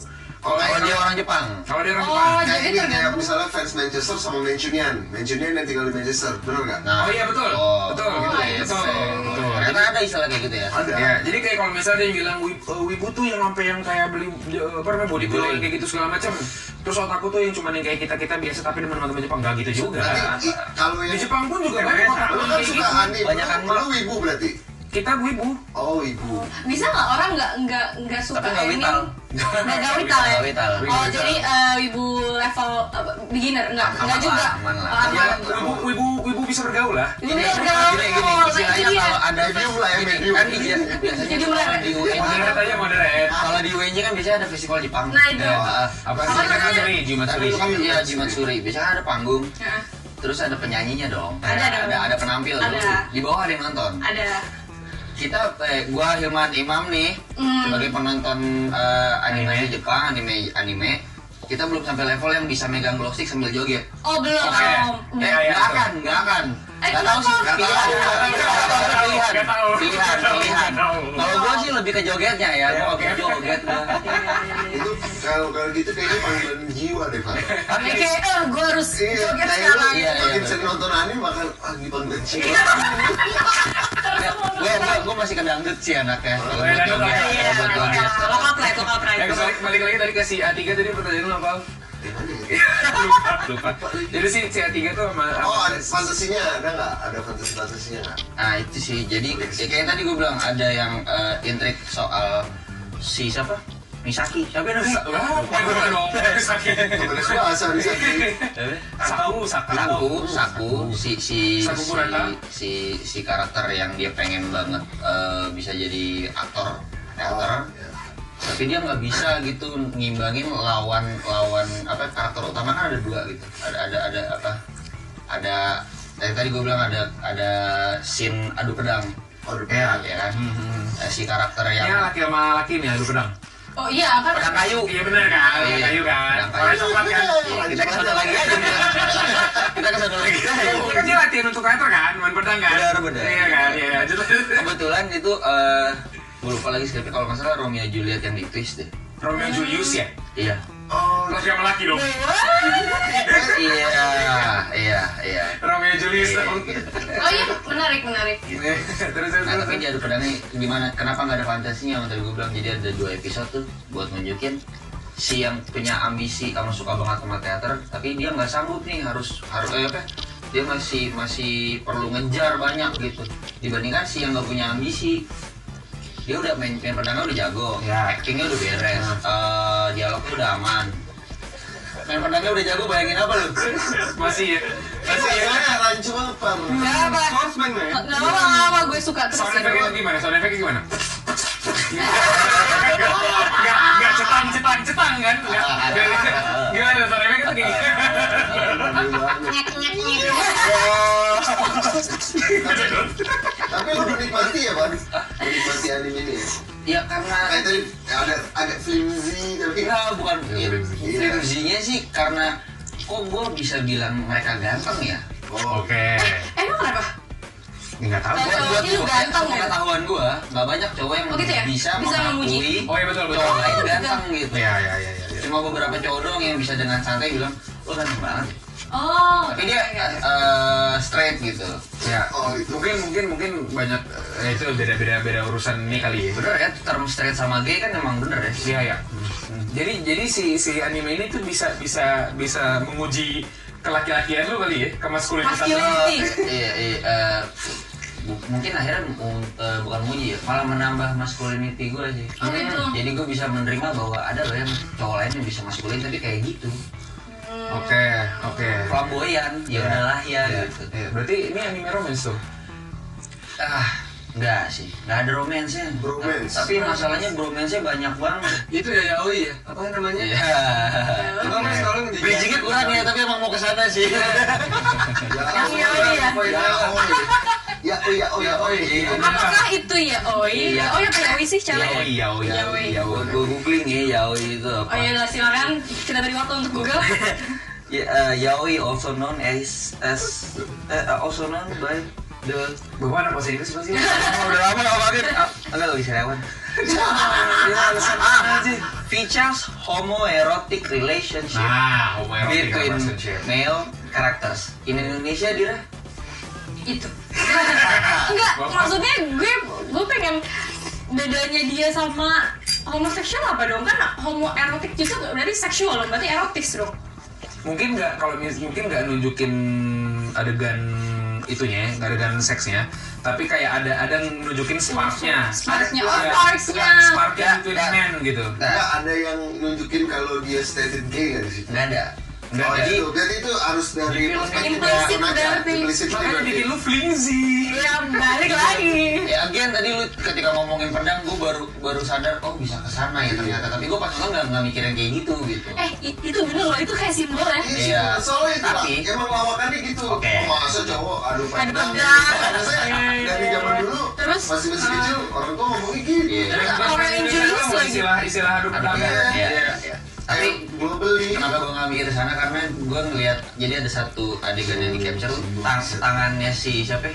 Speaker 4: kalau
Speaker 3: Kalau dia orang Jepang,
Speaker 4: kalau dia orang Jepang
Speaker 1: Oh,
Speaker 5: Kayak
Speaker 1: jadi
Speaker 5: ini kayak
Speaker 1: tergantung.
Speaker 5: misalnya fans Manchester sama Mancunian, Mancunian yang tinggal di Manchester, benar nggak?
Speaker 3: Nah,
Speaker 4: Oh iya betul, betul,
Speaker 3: Oh,
Speaker 4: gitu,
Speaker 3: iya,
Speaker 4: betul,
Speaker 3: betul.
Speaker 4: betul.
Speaker 3: Ternyata ada istilah kayak gitu ya.
Speaker 5: Ada.
Speaker 4: Ya, jadi kayak kalau misalnya dia yang bilang "Wib- eh, wibu tuh yang sampai yang kayak beli eh, apa namanya body pillow yang kayak gitu segala macam. Terus otakku tuh yang cuman yang kayak kita kita biasa tapi dengan teman-teman Jepang gak gitu juga.
Speaker 5: Berarti i- kalau
Speaker 4: Di
Speaker 5: yang
Speaker 4: Jepang pun juga
Speaker 6: Yang
Speaker 4: banyak
Speaker 6: biasa.
Speaker 4: otakku
Speaker 5: Lu
Speaker 4: yang
Speaker 5: kan
Speaker 4: kayak
Speaker 5: suka
Speaker 4: gitu.
Speaker 5: anime,
Speaker 3: Banyak
Speaker 5: lu, lu ibu berarti?
Speaker 4: Kita wibu.
Speaker 5: Oh ibu
Speaker 1: Bisa nggak orang nggak nggak nggak suka
Speaker 3: Tapi nggak
Speaker 1: ini?
Speaker 3: vital.
Speaker 1: Nggak nggak vital ya?
Speaker 3: Nggak vital.
Speaker 1: Oh jadi eh, ibu level eh, beginner nggak
Speaker 3: Aman
Speaker 1: nggak
Speaker 3: lah,
Speaker 1: juga.
Speaker 3: aman lah.
Speaker 1: Oh,
Speaker 4: Ya,
Speaker 1: aman.
Speaker 4: wibu, wibu, wibu bisa bergaul lah.
Speaker 1: Ibu
Speaker 3: Gini,
Speaker 1: bener
Speaker 3: gini, gini,
Speaker 1: Oh,
Speaker 3: istilahnya
Speaker 1: jadi ya.
Speaker 3: kalau ada
Speaker 5: Medium lah ya,
Speaker 3: gini,
Speaker 5: medium.
Speaker 3: kan dia- biasanya
Speaker 1: Medium
Speaker 3: kalau
Speaker 1: lah.
Speaker 3: di UN
Speaker 4: Moderate aja moderate.
Speaker 3: kalau di UNJ kan biasanya ada festival Jepang.
Speaker 1: Nah, itu.
Speaker 3: Ya,
Speaker 4: Apa
Speaker 1: Apa
Speaker 4: sih? Kita kan
Speaker 1: namanya?
Speaker 4: dari Jimatsuri.
Speaker 3: Tapi kan ya Jimatsuri, biasanya ada panggung,
Speaker 1: Nah,
Speaker 3: terus ada penyanyinya dong.
Speaker 1: Ada
Speaker 3: Eh,
Speaker 1: dong.
Speaker 3: ada, ada penampil.
Speaker 1: Ada.
Speaker 3: Di bawah ada yang nonton.
Speaker 1: Ada.
Speaker 3: Kita eh, gua Hilman Imam nih
Speaker 1: Hmm.
Speaker 3: sebagai penonton eh, anime Jepang, anime anime kita belum sampai level yang bisa megang glow stick sambil joget.
Speaker 1: Oh belum.
Speaker 4: Oke.
Speaker 1: Oh,
Speaker 3: Eh,
Speaker 4: Iya, iya,
Speaker 3: nggak
Speaker 4: betul.
Speaker 3: akan, nggak akan.
Speaker 1: Eh,
Speaker 3: Nggak tahu sih,
Speaker 1: kenapa?
Speaker 3: pilihan, pilihan,
Speaker 4: Nggak tahu.
Speaker 3: pilihan,
Speaker 4: Nggak tahu. Iya.
Speaker 3: pilihan.
Speaker 4: Nggak tahu.
Speaker 3: Kalau gua sih lebih ke jogetnya ya, gua
Speaker 4: oke.
Speaker 3: ke joget.
Speaker 1: iya,
Speaker 3: gua.
Speaker 1: iya, iya.
Speaker 5: itu kalau kalau gitu kayaknya panggilan jiwa deh pak
Speaker 1: Ya, kayak eh gue harus
Speaker 5: iya
Speaker 1: joget
Speaker 5: kayak lu
Speaker 1: sekarang
Speaker 3: Iya, iya,
Speaker 5: makin
Speaker 3: betul.
Speaker 5: sering nonton anime bakal ah ini panggilan jiwa
Speaker 3: gue gue gue masih kedangdut sih anaknya kalau
Speaker 4: Iya,
Speaker 3: buat
Speaker 4: iya,
Speaker 3: joget
Speaker 4: iya,
Speaker 1: Iya,
Speaker 3: kalau buat
Speaker 1: lokal
Speaker 3: joget
Speaker 1: lokal pride, lokal pride.
Speaker 4: Eh, balik, balik lagi tadi ke si A3 tadi pertanyaan lu apa?
Speaker 5: Gimana ya?
Speaker 4: Lupa, lupa. Jadi si si A3 tuh sama
Speaker 5: oh
Speaker 4: sama-
Speaker 5: ada fantasinya ada nggak ada fantasi fantasinya nggak
Speaker 3: Nah itu sih, jadi ya kayak tadi gue bilang ada yang eh, intrik soal si siapa? Misaki, siapa ya? namanya?
Speaker 4: Wah, bukan dong.
Speaker 5: temen gue asal bisa
Speaker 4: Iya.
Speaker 5: di
Speaker 4: Saku, saku.
Speaker 3: Saku, Saku, si si
Speaker 4: Saku
Speaker 3: si,
Speaker 4: Kurata.
Speaker 3: si si karakter yang dia pengen banget eh, bisa jadi aktor teater, tapi dia nggak bisa gitu ngimbangin lawan lawan apa karakter utama kan ada dua gitu, ada ada ada apa? Ada dari tadi gue bilang ada ada scene adu pedang,
Speaker 5: Adu
Speaker 3: ya,
Speaker 5: pedang. hmm,
Speaker 3: ya kan? Eh, Si karakter yang
Speaker 4: Ini laki sama laki nih, adu pedang.
Speaker 1: Oh iya, kan
Speaker 3: pedang kayu.
Speaker 4: Iya benar kan,
Speaker 3: Iya,
Speaker 4: kayu kan.
Speaker 3: pedang kayu.
Speaker 4: Orang coklat kan.
Speaker 3: Kita kesana lagi
Speaker 4: ya.
Speaker 3: aja. [LAUGHS] Kita kesana lagi.
Speaker 4: Ini kan dia latihan untuk karakter kan, main pedang kan.
Speaker 3: iya. Benar, benar.
Speaker 4: Iya kan, iya. lanjut, lanjut.
Speaker 3: Kebetulan itu eh gue lupa lagi skripnya kalau nggak salah Romeo Juliet yang di twist deh.
Speaker 4: Romeo Julius ya.
Speaker 3: Iya.
Speaker 5: oh
Speaker 4: Laki sama laki dong.
Speaker 3: Iya, iya, iya.
Speaker 4: Romeo Julius
Speaker 3: Iya,
Speaker 4: dong.
Speaker 3: gitu.
Speaker 1: Oh iya, menarik, menarik.
Speaker 4: Eh, Terus terus.
Speaker 3: Nah
Speaker 4: terus.
Speaker 3: tapi jadu pedangnya gimana? Kenapa nggak ada fantasinya? Yang tadi gue bilang jadi ada dua episode tuh buat nunjukin si yang punya ambisi kamu suka banget sama teater, tapi dia nggak sanggup nih harus harus eh, apa? Dia masih masih perlu ngejar banyak gitu. Dibandingkan si yang nggak punya ambisi, dia udah main main pedangnya udah jago,
Speaker 4: Ya.
Speaker 3: actingnya udah beres, eh, dialognya udah aman. Main pedangnya udah jago, bayangin apa lu?
Speaker 4: Masih ya.
Speaker 5: masih gimana rancu banget iya, Pak.
Speaker 1: Gak
Speaker 3: Iya.
Speaker 1: apa,
Speaker 6: Horseman ya.
Speaker 1: gak apa, gak apa, gue suka terus.
Speaker 4: Sound
Speaker 1: ya.
Speaker 4: effect gimana? Sound effect gimana? Gak, gak cetang, cetang, cetang kan? Gak, gak, gimana sound effect itu kayak
Speaker 1: Nyek, nyek, nyek.
Speaker 5: tapi lu menikmati ya pak menikmati anime ini ya
Speaker 3: Ya karena
Speaker 5: kayak tadi ada agak flimsy tapi
Speaker 3: Enggak, bukan ya,
Speaker 5: Iya.
Speaker 3: Flimsy-nya sih karena kok gue bisa bilang mereka ganteng ya?
Speaker 5: oh
Speaker 4: Oke, Iya,
Speaker 1: Emang Eh, kenapa?
Speaker 4: nggak tahu.
Speaker 1: Kalau cowoknya lu
Speaker 3: gua-
Speaker 1: ganteng ya?
Speaker 3: pengetahuan gue, nggak banyak cowok yang
Speaker 1: Oh, gitu ya?
Speaker 3: bisa,
Speaker 1: Bisa memuji.
Speaker 3: mengakui
Speaker 4: Oh iya betul betul.
Speaker 3: cowok lain ganteng gitu.
Speaker 4: Iya iya iya. iya.
Speaker 3: Cuma beberapa cowok doang yang bisa dengan santai bilang, lo ganteng banget.
Speaker 1: Oh,
Speaker 3: Tapi dia
Speaker 1: oke, oke.
Speaker 3: eh, straight gitu.
Speaker 4: Ya,
Speaker 5: Oh, itu.
Speaker 4: mungkin mungkin mungkin banyak eh, itu beda-beda beda urusan ini kali ya.
Speaker 3: Bener ya, term straight sama gay kan emang bener ya.
Speaker 4: Iya ya. Jadi jadi si si anime ini tuh bisa bisa bisa menguji kelaki-lakian lu kali ya, kemaskulinitas lu.
Speaker 1: Masculinity.
Speaker 3: iya, iya, eh, bu- mungkin akhirnya mu- eh, bukan muji ya malah menambah masculinity gue sih
Speaker 1: Oh, gitu.
Speaker 3: jadi gue bisa menerima bahwa ada loh yang cowok lain yang bisa maskulin tapi kayak gitu
Speaker 4: Oke, oke.
Speaker 3: flamboyan ya
Speaker 4: Iya.
Speaker 3: udahlah ya
Speaker 4: Iya,
Speaker 3: gitu
Speaker 4: iya. Berarti ini anime romance tuh.
Speaker 3: ah enggak sih enggak ada romance nya
Speaker 5: Bromance.
Speaker 3: tapi masalahnya bromance nya banyak banget
Speaker 6: Itu ya
Speaker 4: oh
Speaker 6: yaoi ya. Apa namanya?
Speaker 3: Iya.
Speaker 6: Itu mas tolong di.
Speaker 3: Bridgingnya kurang ya, tapi emang mau kesana sih.
Speaker 1: Yang yaoi ya?
Speaker 5: ya oi ya oi ya oi ya oi
Speaker 1: Apakah itu ya Oi?
Speaker 3: Iya.
Speaker 1: Oh ya Oi sih cewek ya?
Speaker 4: Yaoi, yaoi,
Speaker 1: Yaoi.
Speaker 4: yaoi, yaoi.
Speaker 3: Gue googling ya, yaoi itu apa?
Speaker 1: Oh iya lah silakan kita beri waktu untuk Google.
Speaker 3: Ya, uh, yaoi also known as as uh, also known by the
Speaker 4: Bapak anak bahasa Inggris pasti.
Speaker 3: oh, udah lama nggak pakai ah, enggak bisa lewat ya alasan apa sih features homoerotic relationship
Speaker 4: Nah, homoerotic
Speaker 3: between
Speaker 4: relationship.
Speaker 3: male characters in Indonesia dira
Speaker 1: itu. [LAUGHS] Enggak, maksudnya gue gue pengen bedanya dia sama homoseksual apa dong? Kan homoerotik juga berarti seksual dong, berarti erotis dong.
Speaker 4: Mungkin nggak kalau mis- mungkin nggak nunjukin adegan itunya, ya, adegan seksnya, tapi kayak ada ada nunjukin sparknya.
Speaker 1: Sparknya, oh
Speaker 4: Ada-
Speaker 1: sparksnya.
Speaker 4: Sparknya
Speaker 3: Ya,
Speaker 4: between
Speaker 3: ya.
Speaker 4: men gitu.
Speaker 5: Nggak ada yang nunjukin kalau dia stated gay nggak di situ
Speaker 3: nggak ada
Speaker 4: Nggak
Speaker 5: Oh,
Speaker 4: ada.
Speaker 5: itu berarti itu harus dari
Speaker 3: Dibilang
Speaker 5: perspektif
Speaker 1: implicit
Speaker 5: orang aja.
Speaker 1: berarti.
Speaker 5: Implicit
Speaker 4: Makanya
Speaker 5: berarti.
Speaker 4: bikin lu flimsy.
Speaker 1: Ya balik lagi.
Speaker 3: ya again tadi lu ketika ngomongin pedang gue baru baru sadar oh bisa kesana ya ternyata tapi gue pas nonton nggak nggak mikirin kayak gitu gitu
Speaker 1: Eh i- itu bener loh, itu kayak simbol ya.
Speaker 5: Iya,
Speaker 3: Iya.
Speaker 5: soalnya itu lah.
Speaker 3: Tapi-
Speaker 5: Emang lawakannya gitu.
Speaker 3: Oke.
Speaker 5: Masa cowok adu pandang.
Speaker 1: pedang.
Speaker 5: Karena saya dari zaman dulu
Speaker 1: Terus,
Speaker 5: masih masih
Speaker 1: eh,
Speaker 5: kecil orang tua ngomongnya gitu.
Speaker 3: Iya.
Speaker 1: Orang yang jealous lagi.
Speaker 4: Istilah istilah adu pedang.
Speaker 3: Iya,
Speaker 5: Iya.
Speaker 3: iya, iya.
Speaker 5: Tapi
Speaker 3: tapi
Speaker 5: gue beli.
Speaker 3: kenapa gue nggak mikir ke sana karena gue ngelihat jadi ada satu adegan yang di capture tang tangannya si siapa ya?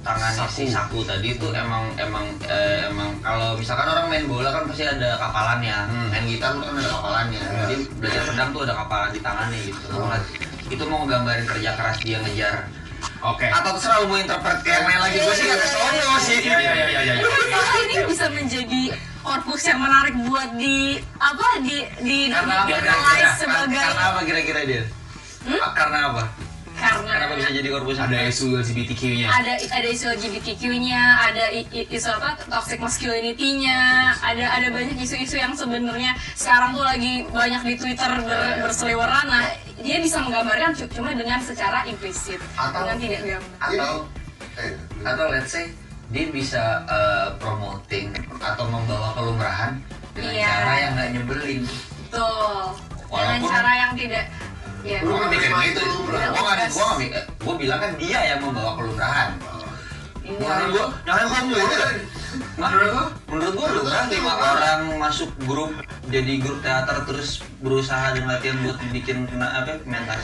Speaker 3: tangannya si saku tadi itu emang emang eh, emang kalau misalkan orang main bola kan pasti ada kapalannya
Speaker 2: Hmm.
Speaker 3: main gitar kan ada kapalannya
Speaker 2: Iya.
Speaker 3: jadi belajar pedang tuh ada kapalan di tangannya gitu
Speaker 2: Oh.
Speaker 3: itu mau gambarin kerja keras dia ngejar
Speaker 2: Oke.
Speaker 3: atau terserah lu mau interpret kayak main lagi gue sih gak kesono sih
Speaker 2: Iya iya iya iya. iya.
Speaker 1: Apakah kan ini bisa menjadi korpus yang menarik buat di apa di di
Speaker 3: karena apa kira-kira
Speaker 1: dianalis sebagai
Speaker 3: karena apa kira-kira dia karena apa
Speaker 1: karena
Speaker 3: kenapa bisa jadi korpus
Speaker 2: Hmm? Ada isu LGBTQ-nya.
Speaker 1: ada ada isu LGBTQ-nya, ada i- i- isu apa toxic masculinity-nya, ada ada banyak isu-isu yang sebenarnya sekarang tuh lagi banyak di Twitter ber- berseliweran. Nah, dia bisa menggambarkan cu- cuma dengan secara implisit,
Speaker 3: Atau-
Speaker 1: dengan tidak gambar.
Speaker 3: atau
Speaker 5: eh,
Speaker 3: atau let's say dia bisa eh, promoting atau membawa kelumrahan dengan
Speaker 1: Iya.
Speaker 3: cara yang nggak nyebelin
Speaker 1: Betul. Dengan
Speaker 3: Walaupun-
Speaker 1: cara yang tidak ya.
Speaker 5: Lu
Speaker 3: Gua
Speaker 5: kan
Speaker 3: mikir
Speaker 5: cuma
Speaker 3: gitu.
Speaker 5: itu, lu.
Speaker 3: Gua nggak- gua nggak mikir- gua bilang kan dia yang membawa kelumrahan
Speaker 1: Iya.
Speaker 3: Menurut gua, jangan gua menurut gua.
Speaker 4: Menurut lo?
Speaker 3: Menurut gua lu kan lima orang masuk grup jadi grup teater terus berusaha dan latihan buat bikin kena apa mental.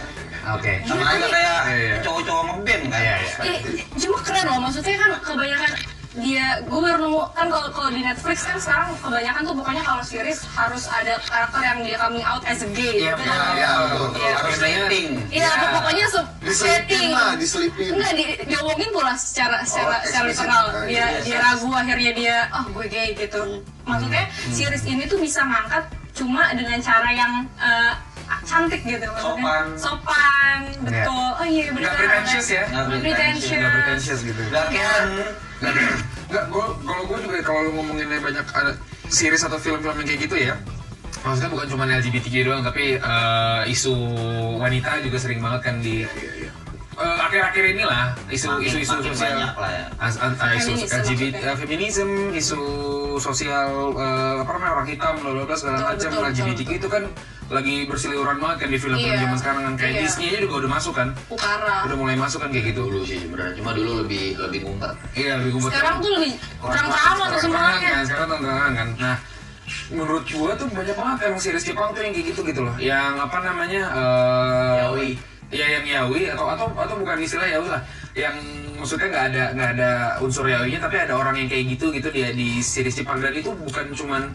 Speaker 2: Oke.
Speaker 3: Sama aja kayak
Speaker 2: Iya, iya.
Speaker 3: cowok-cowok ngeband kan.
Speaker 2: Iya, iya.
Speaker 1: Eh, cuma keren loh maksudnya kan kebanyakan dia gue baru nemu kan kalau kalau di Netflix kan sekarang kebanyakan tuh pokoknya kalau series harus ada karakter yang dia coming out as a gay
Speaker 4: Iya,
Speaker 1: gitu
Speaker 4: iya,
Speaker 1: kan.
Speaker 5: iya,
Speaker 3: Betul, Harus rating.
Speaker 1: Iya, apa pokoknya se-
Speaker 5: diselipin
Speaker 1: setting.
Speaker 5: lah diselipin
Speaker 1: Enggak di, diomongin pula secara secara
Speaker 5: Oh,
Speaker 1: secara
Speaker 5: eksplisit.
Speaker 1: literal.
Speaker 5: Ah,
Speaker 1: Dia
Speaker 5: iya,
Speaker 1: dia
Speaker 5: iya.
Speaker 1: ragu akhirnya dia oh gue gay gitu. Maksudnya series ini tuh bisa ngangkat cuma dengan cara yang eh, cantik gitu maksudnya.
Speaker 3: Sopan.
Speaker 1: Sopan. betul. Oh iya benar.
Speaker 4: Nggak pretentious ya?
Speaker 3: Nggak
Speaker 1: Nggak
Speaker 3: pretentious.
Speaker 4: Nggak
Speaker 1: pretentious.
Speaker 4: pretentious gitu.
Speaker 3: Gak keren.
Speaker 4: Enggak, gua kalau gua juga kalau lu ngomongin banyak ada series atau film-film yang kayak gitu ya. Maksudnya bukan cuma LGBTQ doang, tapi eh, isu wanita juga sering banget kan di Eh, akhir-akhir inilah
Speaker 3: Iya,
Speaker 4: isu
Speaker 3: Makin-
Speaker 4: isu isu
Speaker 3: makin
Speaker 4: sosial
Speaker 3: banyak lah ya.
Speaker 4: As- an- ah, isu
Speaker 1: Feminism
Speaker 4: LGBT,
Speaker 1: maksudnya.
Speaker 4: eh, feminism, isu sosial eh, apa namanya orang hitam, bla bla bla segala
Speaker 1: Betul,
Speaker 4: macam
Speaker 1: betul,
Speaker 4: LGBTQ itu kan lagi berseliweran banget kan di film-film
Speaker 1: Iya.
Speaker 4: zaman sekarang kan kayak
Speaker 1: Iya. Ah.
Speaker 4: Disney aja juga udah masuk kan,
Speaker 1: Ukara.
Speaker 4: udah mulai masuk kan kayak gitu.
Speaker 3: Dulu sih sebenarnya cuma dulu lebih lebih ngumpet.
Speaker 4: Iya lebih kumpul.
Speaker 1: Sekarang tuh lebih kurang sama tuh semuanya.
Speaker 4: kan, sekarang tantangan kan. Nah, menurut gua tuh banyak banget emang series Jepang tuh yang kayak gitu gitu loh. Yang apa namanya? eh
Speaker 3: Yaoi.
Speaker 4: Ya yang yaoi atau atau atau bukan istilah yaoi lah. Yang maksudnya nggak ada nggak ada unsur yaoinya tapi ada orang yang kayak gitu gitu dia di series Jepang dan itu bukan cuman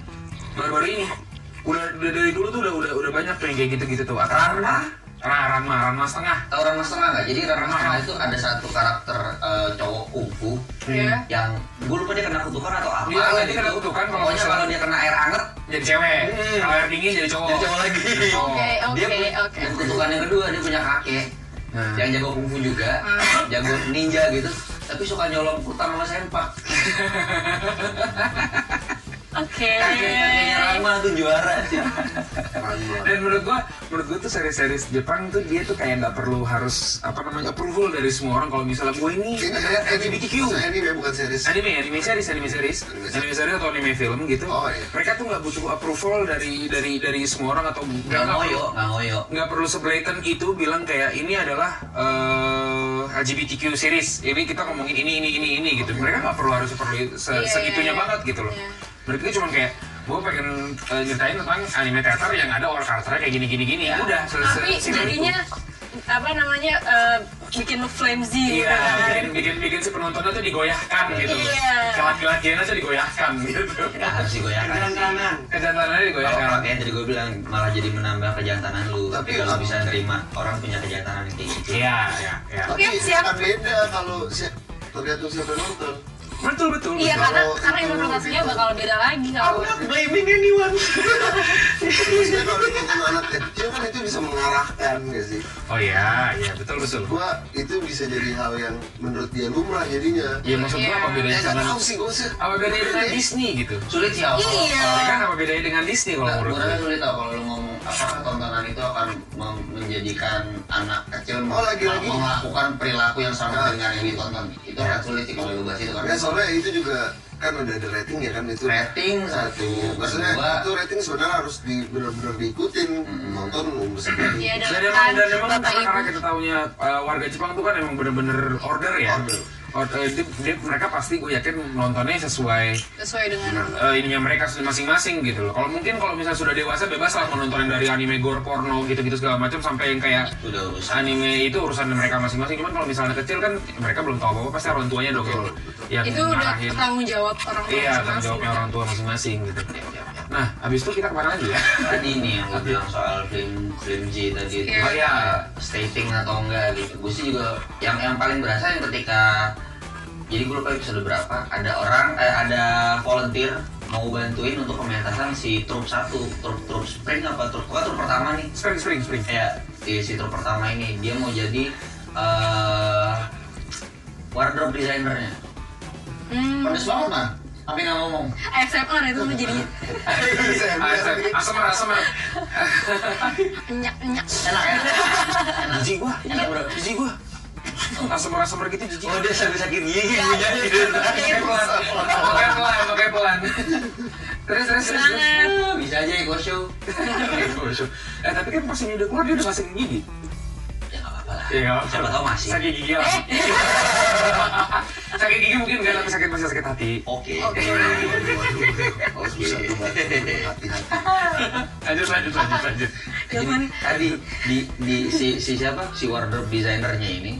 Speaker 4: baru-baru ini. Udah, udah dari dulu tuh udah udah udah banyak tuh yang kayak gitu gitu tuh. Ranma, Ranma, Ranma setengah.
Speaker 3: Tahu Ranma setengah Nah, nggak? Jadi Ranma
Speaker 4: Ranma.
Speaker 3: setengah itu ada satu karakter eh, cowok kungfu
Speaker 1: Iya.
Speaker 3: yang gue lupa dia kena kutukan atau apa
Speaker 4: Iya,
Speaker 3: lah
Speaker 4: dia kena
Speaker 3: gitu.
Speaker 4: kutukan kalau
Speaker 3: Pokoknya
Speaker 4: nggak salah. Oh.
Speaker 3: kalau dia kena air anget
Speaker 4: Jadi cewek. Kalau air dingin jadi cowok.
Speaker 3: Hmm. Jadi cowok
Speaker 4: [LAUGHS]
Speaker 3: lagi.
Speaker 4: cowok.
Speaker 1: Oke,
Speaker 3: Oh, dia
Speaker 1: oke,
Speaker 3: punya
Speaker 1: oke.
Speaker 3: dan kutukan yang kedua dia punya kakek
Speaker 4: Nah.
Speaker 3: yang jago kungfu juga,
Speaker 4: Ah.
Speaker 3: jago ninja gitu, tapi suka nyolong kutang sama sempak.
Speaker 1: Oke.
Speaker 4: Eh.
Speaker 3: Kakeknya Rama tuh juara sih.
Speaker 4: dan menurut gua menurut gua tuh seri-series Jepang tuh dia tuh kayak nggak perlu harus apa namanya approval dari semua orang kalau misalnya gua ini
Speaker 5: ini
Speaker 4: adalah LGBTQ
Speaker 5: maksudnya anime bukan series
Speaker 4: anime anime series anime series
Speaker 5: Anime series.
Speaker 4: anime series atau anime film gitu
Speaker 5: Oh, iya.
Speaker 4: mereka tuh nggak butuh approval dari dari dari semua orang atau
Speaker 3: Nggak
Speaker 4: nggak
Speaker 5: ya.
Speaker 3: ngoyo, nggak ngoyo.
Speaker 4: nggak perlu seblatant itu bilang kayak ini adalah eh, LGBTQ series ini kita ngomongin ini ini ini ini gitu mereka nggak perlu harus perlu se-
Speaker 1: Iya, iya,
Speaker 4: segitunya
Speaker 1: iya.
Speaker 4: banget gitu loh
Speaker 1: Iya.
Speaker 4: mereka cuma kayak gue pengen eh, nyeritain tentang anime teater yang ada orang karakternya kayak gini gini gini udah selesai
Speaker 1: Iya. tapi
Speaker 4: simpel itu.
Speaker 1: jadinya apa namanya eh, bikin lu flimsy gitu
Speaker 4: Iya,
Speaker 1: kan
Speaker 4: bikin, bikin, bikin si penontonnya tuh digoyahkan gitu.
Speaker 1: Iya.
Speaker 4: Laki-lakiannya tuh digoyahkan gitu.
Speaker 3: Nggak harus digoyahkan.
Speaker 6: kanan
Speaker 4: Kejantanannya
Speaker 3: Kalau
Speaker 4: digoyahkan.
Speaker 3: orang kayak tadi gue bilang malah jadi menambah kejantanan lu. Tapi
Speaker 5: Tapi
Speaker 3: kalau
Speaker 5: kalau-
Speaker 3: bisa nerima orang punya kejantanan kayak gitu.
Speaker 4: Iya, iya, iya.
Speaker 5: tapi
Speaker 1: Oke, siap.
Speaker 5: akan beda kalau si tergantung siapa yang nonton
Speaker 4: Betul, betul.
Speaker 1: iya
Speaker 4: betul.
Speaker 1: karena
Speaker 5: Kalau
Speaker 1: karena
Speaker 5: itu-
Speaker 1: interpretasinya bakal beda lagi kalau
Speaker 6: blaming anyone
Speaker 5: maksudnya kalau ditonton anak kecil kan itu bisa mengarahkan gak sih
Speaker 4: Oh iya, iya, betul, betul.
Speaker 5: gua itu bisa jadi hal yang menurut dia lumrah jadinya
Speaker 4: Iya, maksud gua
Speaker 1: Iya.
Speaker 4: apa bedanya
Speaker 5: ya nggak
Speaker 4: sama
Speaker 5: tahu sih gua sih
Speaker 4: apa bedanya dengan Disney gitu?
Speaker 3: Sulit sih kalau
Speaker 1: Iya.
Speaker 3: kalau-
Speaker 4: Ya kan apa bedanya dengan Disney kalau
Speaker 3: Nggak,
Speaker 4: menurut
Speaker 3: gue
Speaker 4: gue?
Speaker 3: rasa sulit tau kalau lu ngomong apakah tontonan itu akan mem- menjadikan anak kecil
Speaker 5: Oh, lagi-lagi.
Speaker 3: mel- melakukan perilaku yang
Speaker 5: Nah.
Speaker 3: sama dengan yang ditonton itu akan sulit sih kalau lu bahas itu karena
Speaker 5: Ya, soalnya itu juga kan udah ada rating ya kan itu
Speaker 3: rating satu
Speaker 5: maksudnya
Speaker 3: kedua
Speaker 5: itu rating sebenarnya harus di benar-benar diikutin nonton umur segini
Speaker 1: ya
Speaker 4: iya. Dan emang, dan
Speaker 1: dan
Speaker 4: emang
Speaker 1: bapak
Speaker 4: karena, eh, karena
Speaker 1: ibu
Speaker 4: kita tahunya uh, warga Jepang tuh kan emang bener-bener order ya.
Speaker 5: Order.
Speaker 4: or- eh, dia- dia- mereka pasti gue yakin nontonnya sesuai
Speaker 1: sesuai dengan
Speaker 4: eh, ininya mereka masing-masing gitu loh. Kalau mungkin kalau misalnya sudah dewasa bebas lah mau nonton yang dari anime gore porno gitu-gitu segala macam sampai yang kayak
Speaker 3: udah urusan
Speaker 4: anime itu urusan mereka masing-masing. Cuman kalau misalnya kecil kan mereka belum tahu apa-apa pasti orang tuanya dong yang, yang
Speaker 1: itu udah
Speaker 4: ngarahin.
Speaker 1: tanggung jawab orang tua
Speaker 4: Iya, tanggung
Speaker 1: masing-masing.
Speaker 4: jawabnya orang tua masing-masing gitu. Nah, habis itu kita kemana lagi ya? [LAUGHS]
Speaker 3: tadi nih yang gue bilang soal film film J tadi itu
Speaker 1: Iya.
Speaker 3: oh, ya stating atau enggak gitu gue sih juga yang yang paling berasa yang ketika jadi gue lupa episode berapa ada orang eh, ada volunteer mau bantuin untuk pementasan si trup satu trup trup spring apa trup apa trup pertama nih
Speaker 4: Spring, spring, spring.
Speaker 3: ya di si trup pertama ini dia mau jadi eh, wardrobe designernya
Speaker 1: Hmm,
Speaker 3: pedes banget man sampai nggak ngomong
Speaker 1: ASMR Eh, itu tuh jadi
Speaker 3: iya,
Speaker 4: Asam, asam, asam.
Speaker 1: nyak nyak.
Speaker 3: enak enak enak jijik gua enak bro jijik gua
Speaker 4: Asam, asam gitu jijik.
Speaker 3: oh dia sampai sakit gigi bunyinya.
Speaker 4: Pakai pelan, pakai pelan, pakai pelan. Terus, terus, terus.
Speaker 1: Sangat.
Speaker 3: bisa aja ego show
Speaker 4: terus. Eh, tapi kan pas ini udah keluar, dia udah masih gigi.
Speaker 3: ya nggak apa-apa lah
Speaker 4: Iya,
Speaker 3: siapa tahu masih
Speaker 4: Sakit gigi lah. [LAUGHS] sakit gigi mungkin nggak, tapi sakit masih sakit hati.
Speaker 3: oke
Speaker 5: Oh, susah tuh Mbak. hati-hati.
Speaker 4: Lanjut, lanjut, lanjut, lanjut.
Speaker 3: Jadi, tadi di, di si, si siapa si wardrobe designernya ini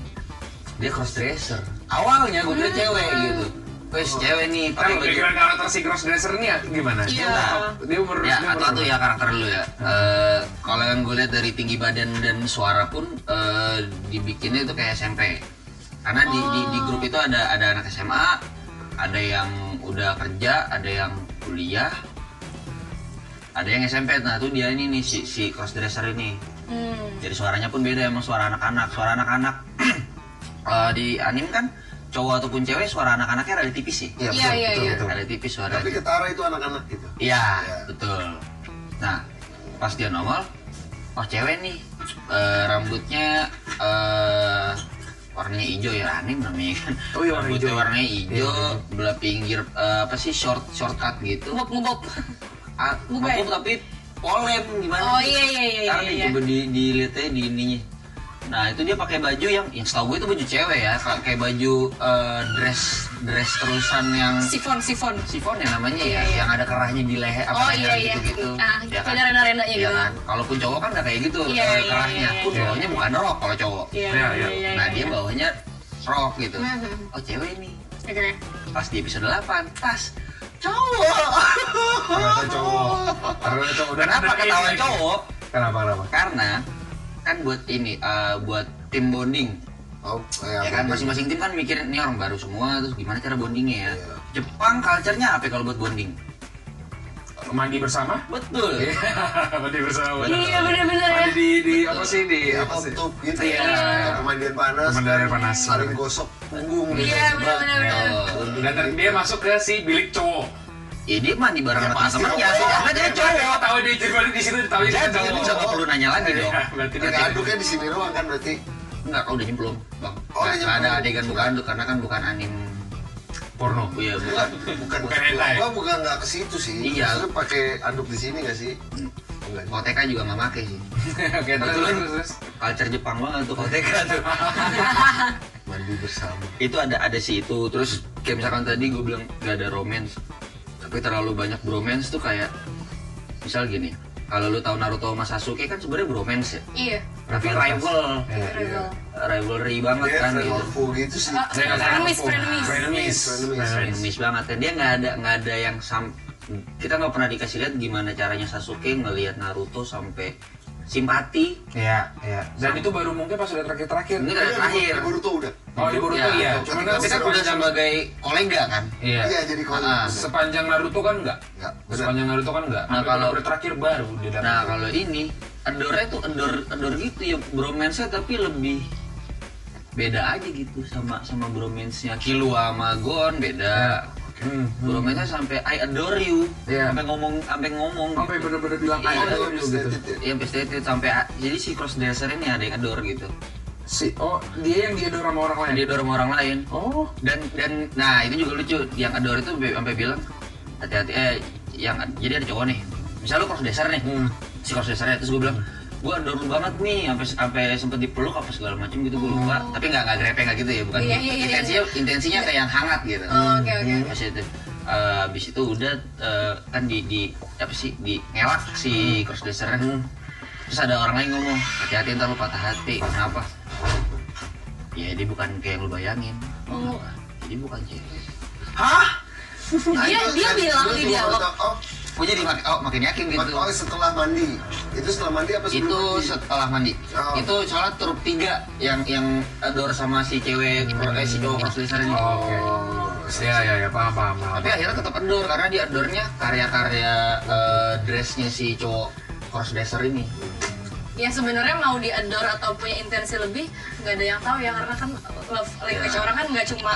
Speaker 3: dia cross dresser awalnya gue kira cewek gitu wes cewek nih
Speaker 4: Ntar
Speaker 3: pakai baju
Speaker 4: pikiran karakter si crossdresser nih ya, gimana?
Speaker 1: Iya.
Speaker 4: Nah, Dia umur
Speaker 3: ya
Speaker 4: dia umur
Speaker 3: atau tuh ya karakter lu ya Eh, kalau yang gue lihat dari tinggi badan dan suara pun eh, dibikinnya itu kayak SMP karena di, di
Speaker 4: Oh.
Speaker 3: di grup itu ada ada anak SMA ada yang udah kerja ada yang kuliah ada yang SMP nah tuh dia ini nih si si crossdresser ini
Speaker 1: Hmm.
Speaker 3: jadi suaranya pun beda emang suara anak-anak suara anak-anak [CLEARS THROAT] eh, di anim kan cowok ataupun cewek suara anak-anaknya ada tipis sih
Speaker 1: Iya,
Speaker 5: Iya,
Speaker 1: iya,
Speaker 5: betul,
Speaker 1: iya.
Speaker 5: betul,
Speaker 3: ada
Speaker 5: betul.
Speaker 3: tipis suara
Speaker 5: Tapi ketara itu anak-anak gitu.
Speaker 3: Iya, betul. Nah, pas dia nongol, oh cewek nih, eh, rambutnya eh warnanya hijau ya aneh namanya kan.
Speaker 4: Oh iya, warna
Speaker 3: rambutnya
Speaker 4: hijau. Iya,
Speaker 3: warnanya hijau, belah pinggir eh, apa sih short shortcut gitu.
Speaker 1: Ngubok ngubok.
Speaker 3: Ah,
Speaker 1: Bukan.
Speaker 3: Aku tapi polem
Speaker 1: ya?
Speaker 3: gimana?
Speaker 1: Oh
Speaker 3: sih?
Speaker 1: iya iya iya iya.
Speaker 3: Ntar
Speaker 1: iya.
Speaker 3: dicoba di dilihatnya di ininya. Nah itu dia pakai baju yang, yang setahu gue itu baju cewek ya, pakai baju eh, dress dress terusan yang
Speaker 1: Sifon sifon.
Speaker 3: sifon ya namanya
Speaker 1: Iya,
Speaker 3: ya,
Speaker 1: iya.
Speaker 3: yang ada kerahnya di leher apa
Speaker 1: Oh,
Speaker 3: leher
Speaker 1: iya, iya.
Speaker 3: gitu-gitu.
Speaker 1: Ah, ada renda-rendanya
Speaker 3: Iya
Speaker 1: gitu.
Speaker 3: kan? Kalaupun cowok kan nggak kayak gitu
Speaker 1: Iya,
Speaker 3: eh,
Speaker 1: iya, iya,
Speaker 3: kerahnya.
Speaker 1: iya,
Speaker 3: Pun
Speaker 1: iya.
Speaker 3: cowoknya bukan rok kalau cowok.
Speaker 1: Iya
Speaker 4: Iya,
Speaker 1: iya
Speaker 4: iya.
Speaker 1: iya.
Speaker 3: nah, dia
Speaker 1: iya.
Speaker 3: bawahnya rok gitu.
Speaker 1: Mhm.
Speaker 3: Oh, cewek nih.
Speaker 1: Oke.
Speaker 3: Pas di episode 8, pas cowok.
Speaker 4: Ternyata cowok. Iya, Ternyata cowok. Dan
Speaker 3: Kenapa
Speaker 4: dan-
Speaker 3: ketawa cowok?
Speaker 4: Kenapa, kenapa?
Speaker 3: Karena kan buat ini eh, buat tim bonding
Speaker 5: Oh,
Speaker 3: ya
Speaker 5: eh, apa
Speaker 3: kan
Speaker 5: nih?
Speaker 3: masing-masing tim kan mikirin ini orang baru semua terus gimana cara bondingnya ya Jepang culture-nya apa ya kalau buat bonding
Speaker 4: Mandi bersama?
Speaker 3: betul
Speaker 4: Iya, mandi bersama.
Speaker 1: Iya benar-benar ya.
Speaker 4: Mandi di, di apa sih di
Speaker 5: Iya,
Speaker 4: apa sih?
Speaker 5: tutup gitu.
Speaker 4: Iya.
Speaker 5: Pemandian panas. kan
Speaker 4: Pemandian panas.
Speaker 5: Saling gosok punggung. gitu, Nah,
Speaker 1: Iya benar-benar. benar.
Speaker 3: Oh.
Speaker 4: Dan ter- dia masuk ke si bilik cowok.
Speaker 3: Ya dia mandi bareng
Speaker 5: Ya,
Speaker 3: sama
Speaker 5: pasti
Speaker 3: temennya
Speaker 5: dong.
Speaker 3: Karena
Speaker 4: Iya,
Speaker 3: dia cowok
Speaker 4: Tahu dia jadi di situ tahu dia
Speaker 3: Jadi
Speaker 4: Iya, cowok.
Speaker 3: lu nggak perlu nanya lagi dong
Speaker 4: Iya, berarti dia
Speaker 5: Nggak aduknya di sini doang kan berarti.
Speaker 3: Enggak, kalau udah nyemplung Bang
Speaker 5: Oh, udah
Speaker 3: Nggak nggak ada
Speaker 5: nyemplung.
Speaker 3: adegan bukan aduk Karena kan bukan anim
Speaker 4: porno.
Speaker 3: Iya bukan
Speaker 5: Bukan,
Speaker 4: Bukan hentai.
Speaker 5: Gua bukan nggak ke situ sih.
Speaker 3: Iya.
Speaker 5: Lu pakai aduk di sini nggak sih? Enggak.
Speaker 3: Koteka juga nggak make sih
Speaker 4: Oke, terus
Speaker 3: Betul.
Speaker 4: terus terus.
Speaker 3: Culture Jepang banget tuh Koteka
Speaker 4: [LAUGHS]
Speaker 3: tuh
Speaker 5: Mandi bersama.
Speaker 3: Itu ada ada si itu Terus kayak misalkan tadi gue bilang nggak ada romance Tapi terlalu banyak bromance tuh kayak Misal gini kalau lu tahu Naruto sama Sasuke kan sebenarnya bromance ya,
Speaker 1: Iya.
Speaker 3: tapi rival,
Speaker 4: Iya.
Speaker 1: Rival.
Speaker 3: Eh, rivalry banget
Speaker 5: Iya,
Speaker 3: kan
Speaker 5: friend
Speaker 3: gitu.
Speaker 5: or foe gitu sih.
Speaker 1: Ah,
Speaker 4: Saya nggak tahu.
Speaker 1: Frenemies frenemies.
Speaker 4: Frenemies.
Speaker 5: Frenemies.
Speaker 4: Frenemies.
Speaker 3: Enemies banget kan dia nggak ada nggak ada yang sam kita nggak pernah dikasih lihat gimana caranya Sasuke ngelihat Naruto sampai simpati
Speaker 4: Iya, iya. Dan itu baru mungkin pas udah
Speaker 5: Iya,
Speaker 4: terakhir-terakhir.
Speaker 3: ini kan terakhir
Speaker 5: Boruto udah.
Speaker 4: Oh, di Boruto
Speaker 3: Ya,
Speaker 4: iya. Cuman kan
Speaker 3: tapi kan
Speaker 4: sepanjang-
Speaker 3: udah sebagai kolega kan
Speaker 4: Iya.
Speaker 5: Iya, jadi kalau
Speaker 3: Ah,
Speaker 4: Sepanjang Naruto kan enggak?
Speaker 5: Enggak, benar.
Speaker 4: Sepanjang Naruto kan enggak.
Speaker 3: Nah,
Speaker 4: Nah,
Speaker 3: kalau-
Speaker 4: kalau terakhir baru dia dapat.
Speaker 3: nah kalau ini endornya tuh endor endor gitu ya bromance tapi lebih beda aja gitu sama sama bromance nya Killua sama Gon beda
Speaker 4: Hmm.
Speaker 3: bromance nya sampai I adore you
Speaker 4: Iya.
Speaker 3: sampai ngomong sampai ngomong
Speaker 4: Sampai bener-bener bilang
Speaker 3: Iya,
Speaker 4: ada
Speaker 5: Iya,
Speaker 4: gitu.
Speaker 5: stated ya.
Speaker 3: ya bestet sampai jadi si cross dresser ini ada yang adore gitu
Speaker 4: Si oh, dia yang dia dorong sama orang lain.
Speaker 3: dia adore sama orang lain
Speaker 4: Oh,
Speaker 3: dan dan nah itu juga lucu yang adore itu be- sampai bilang hati-hati eh yang jadi ada cowok nih misal lu cross dasar nih
Speaker 4: Hmm.
Speaker 3: si cross dasarnya terus gue bilang gue adorable banget nih sampai sampai sempet dipeluk apa segala macam gitu gue lupa tapi nggak nggak grepe nggak gitu ya bukan
Speaker 1: Oh. Iya, iya, iya,
Speaker 3: intensinya intensinya kayak yang hangat gitu
Speaker 1: Oh, oke, oke.
Speaker 3: Pas itu eh, abis itu udah eh, kan di di apa sih di ngelak si crossdresser terus ada orang lain ngomong hati-hati ntar lu patah hati kenapa ya dia bukan kayak yang lu bayangin
Speaker 1: Oh.
Speaker 3: jadi bukan cewek
Speaker 5: Nah,
Speaker 1: dia Iya, dia bilang di dialog
Speaker 5: kan oh,
Speaker 3: gue jadi mak- oh, makin yakin gitu
Speaker 5: oh, setelah mandi itu setelah mandi apa sebelum
Speaker 3: itu
Speaker 5: mandi?
Speaker 3: setelah mandi
Speaker 5: Oh.
Speaker 3: itu soalnya truk tiga yang yang ador sama si cewek
Speaker 1: Iya.
Speaker 3: eh, si cowok crossdresser ini
Speaker 4: Oh, oke. Ya, ya, ya, paham, paham, paham.
Speaker 3: tapi akhirnya tetap ador karena di adornya karya-karya eh, dressnya si cowok crossdresser ini
Speaker 1: ya sebenarnya mau diador atau punya intensi lebih nggak ada yang tahu ya karena kan love language orang kan nggak cuma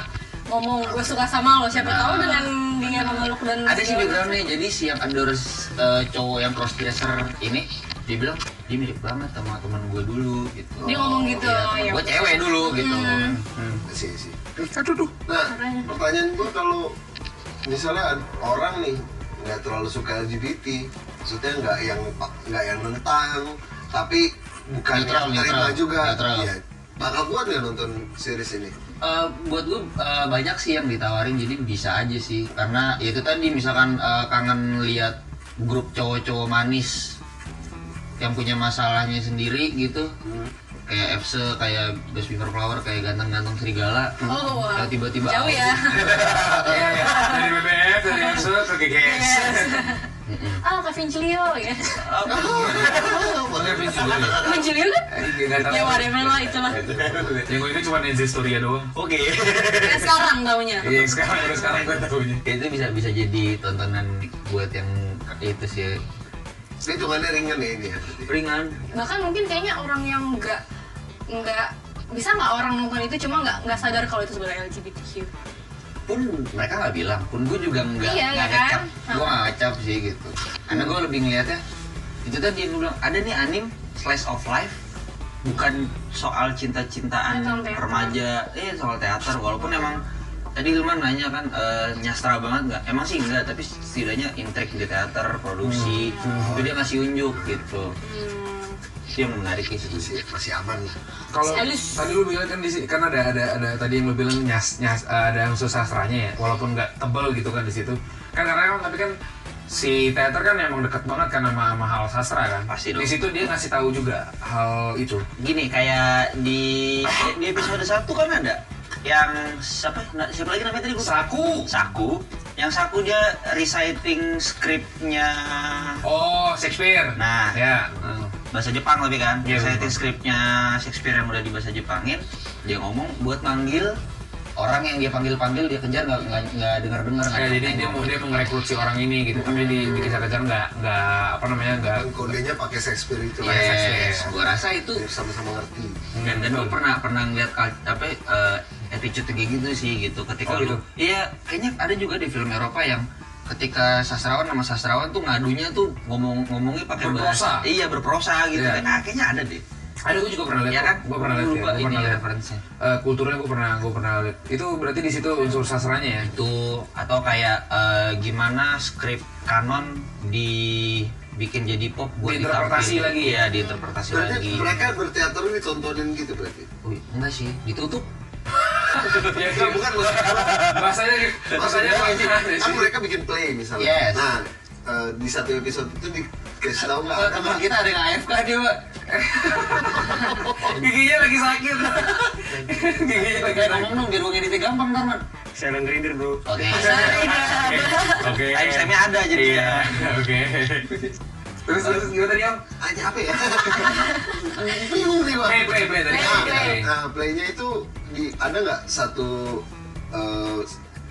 Speaker 1: ngomong gue suka sama lo siapa tahu dengan dia memeluk dan
Speaker 3: Nah. ada sih
Speaker 1: segala
Speaker 3: backgroundnya jadi si yang ador eh, cowok yang crossdresser ini dibilang dia mirip banget sama teman gue dulu gitu
Speaker 1: Dia ngomong gitu, Hmm. ya.
Speaker 3: gue cewek dulu gitu
Speaker 5: sih sih nah pertanyaan gue kalau misalnya ad- orang nih nggak terlalu suka LGBT maksudnya nggak yang nggak yang nentang tapi bukan
Speaker 3: Netral,
Speaker 5: yang terima
Speaker 3: netral,
Speaker 5: juga
Speaker 3: netral.
Speaker 5: Iya. bakal kuat nggak nonton series ini
Speaker 3: Eh, buat gue eh, banyak sih yang ditawarin jadi bisa aja sih karena ya itu tadi misalkan eh, kangen lihat grup cowok-cowok manis yang punya masalahnya sendiri gitu
Speaker 1: Hmm.
Speaker 3: kayak Fse, kayak Best Before Flower, kayak ganteng-ganteng serigala
Speaker 1: Oh, wah.
Speaker 3: Kayak Nah, tiba-tiba
Speaker 1: jauh
Speaker 3: [LAUGHS]
Speaker 1: ya
Speaker 4: Iya, iya. Dari BBF, dari EXO, ke GGS.
Speaker 1: Iya. [LAUGHS] ah Kak Vincilio ya
Speaker 5: boleh
Speaker 1: Vincilio kan
Speaker 4: Nggak tahu.
Speaker 1: ya whatever lah
Speaker 3: [LAUGHS]
Speaker 1: itulah
Speaker 4: Yang gue itu cuma Insistoria doang.
Speaker 3: oke [LAUGHS]
Speaker 1: ya sekarang taunya
Speaker 4: Iya, yang sekarang, yang sekarang gue tahunya.
Speaker 3: itu bisa bisa jadi tontonan buat yang itu sih
Speaker 5: ini hitungannya ringan ya ini ya berarti.
Speaker 3: ringan
Speaker 1: bahkan mungkin kayaknya orang yang nggak nggak bisa nggak orang nonton itu cuma nggak nggak sadar kalau itu sebenarnya
Speaker 3: [LAUGHS]
Speaker 1: LGBTQ
Speaker 3: pun mereka nggak bilang pun gue juga nggak
Speaker 1: Iya, ya
Speaker 3: nggak
Speaker 1: kan?
Speaker 3: ngecap gue nggak ngecap sih gitu karena gue lebih ngeliatnya itu tadi yang gue bilang ada nih anim slice of life bukan soal cinta-cintaan
Speaker 1: Tentang teater.
Speaker 3: remaja eh soal teater walaupun emang tadi Hilman nanya kan eh, nyastra banget nggak emang sih enggak tapi setidaknya intrik di teater produksi
Speaker 5: Hmm.
Speaker 3: itu dia ngasih unjuk gitu
Speaker 1: Hmm.
Speaker 3: itu yang menarik sih
Speaker 5: masih masih aman lah
Speaker 4: kalau
Speaker 1: Halus.
Speaker 4: tadi lu bilang kan di sini kan ada ada ada tadi yang lu bilang nyas nyas eh, ada unsur sastranya ya walaupun nggak tebel gitu kan di situ kan karena emang tapi kan si teater kan emang dekat banget kan sama, sama hal sastra kan
Speaker 3: Pasti dong.
Speaker 4: di situ dia ngasih tahu juga hal itu
Speaker 3: gini kayak di di episode 1 kan ada yang siapa na- siapa lagi namanya tadi gue
Speaker 4: saku
Speaker 3: saku yang saku dia reciting skripnya
Speaker 4: oh Shakespeare
Speaker 3: Nah.
Speaker 4: ya Hmm.
Speaker 3: bahasa Jepang lebih kan
Speaker 4: Iya,
Speaker 3: reciting
Speaker 4: betul.
Speaker 3: skripnya Shakespeare yang udah di bahasa Jepangin dia ngomong buat manggil orang yang dia panggil panggil dia kejar nggak nggak nggak dengar dengar
Speaker 4: Ya, jadi dia mau dia mau ngerekrut si orang ini gitu, tapi di, dikejar-kejar nggak nggak apa namanya nggak
Speaker 5: kan kodenya pakai Shakespeare itu
Speaker 3: Yes, gua rasa itu
Speaker 5: biar sama-sama ngerti
Speaker 3: dan dan gue pernah pernah ngeliat kal- apa eh, attitude kayak gitu sih gitu ketika
Speaker 4: Oh, gitu.
Speaker 3: lu iya kayaknya ada juga di film Eropa yang ketika sastrawan sama sastrawan tuh ngadunya tuh ngomong ngomongnya pakai bahasa
Speaker 4: Berprosa.
Speaker 3: iya berprosa gitu kan
Speaker 4: Iya.
Speaker 3: ah, kayaknya ada deh
Speaker 4: ada gue juga pernah lihat
Speaker 3: Iya
Speaker 4: kok.
Speaker 3: kan?
Speaker 4: gue pernah lihat
Speaker 3: Gua
Speaker 4: ya,
Speaker 3: lupa
Speaker 4: gua pernah
Speaker 3: ini
Speaker 4: lihat
Speaker 3: referensinya.
Speaker 4: Eh, kulturnya gue pernah gue pernah lihat itu berarti di situ unsur sastranya
Speaker 3: [LAUGHS]
Speaker 4: ya
Speaker 3: itu atau kayak eh, gimana skrip kanon dibikin jadi pop buat
Speaker 4: Diinterpretasi
Speaker 3: ditampilin.
Speaker 4: lagi.
Speaker 3: ya diinterpretasi
Speaker 5: berarti
Speaker 3: lagi
Speaker 5: mereka berteater ditontonin gitu berarti
Speaker 3: Wih, enggak sih ditutup
Speaker 4: ya
Speaker 3: Iya,
Speaker 4: itu
Speaker 5: Nah, bukan maksud gua-
Speaker 4: bahasanya
Speaker 5: maksudnya
Speaker 4: bahasanya
Speaker 5: kan,
Speaker 4: bahasanya
Speaker 5: kan mereka bikin play misalnya
Speaker 3: Yes.
Speaker 5: nah eh, di satu episode itu dikasih tahu nggak ada
Speaker 3: teman kita ada yang AFK dia pak
Speaker 4: giginya lagi sakit giginya lagi
Speaker 3: kayak ngomong dong biar gue ngeditnya gampang ntar man
Speaker 6: Silent reader bro.
Speaker 3: oke Iya.
Speaker 4: oke
Speaker 3: time stamp-nya ada jadi
Speaker 4: iya
Speaker 3: ya.
Speaker 4: oke terus terus gimana tadi om
Speaker 5: hanya apa ya bingung nih
Speaker 4: play
Speaker 5: Bang.
Speaker 4: play play tadi
Speaker 5: Nah,
Speaker 4: Play.
Speaker 5: nah, playnya itu di ada nggak satu eh,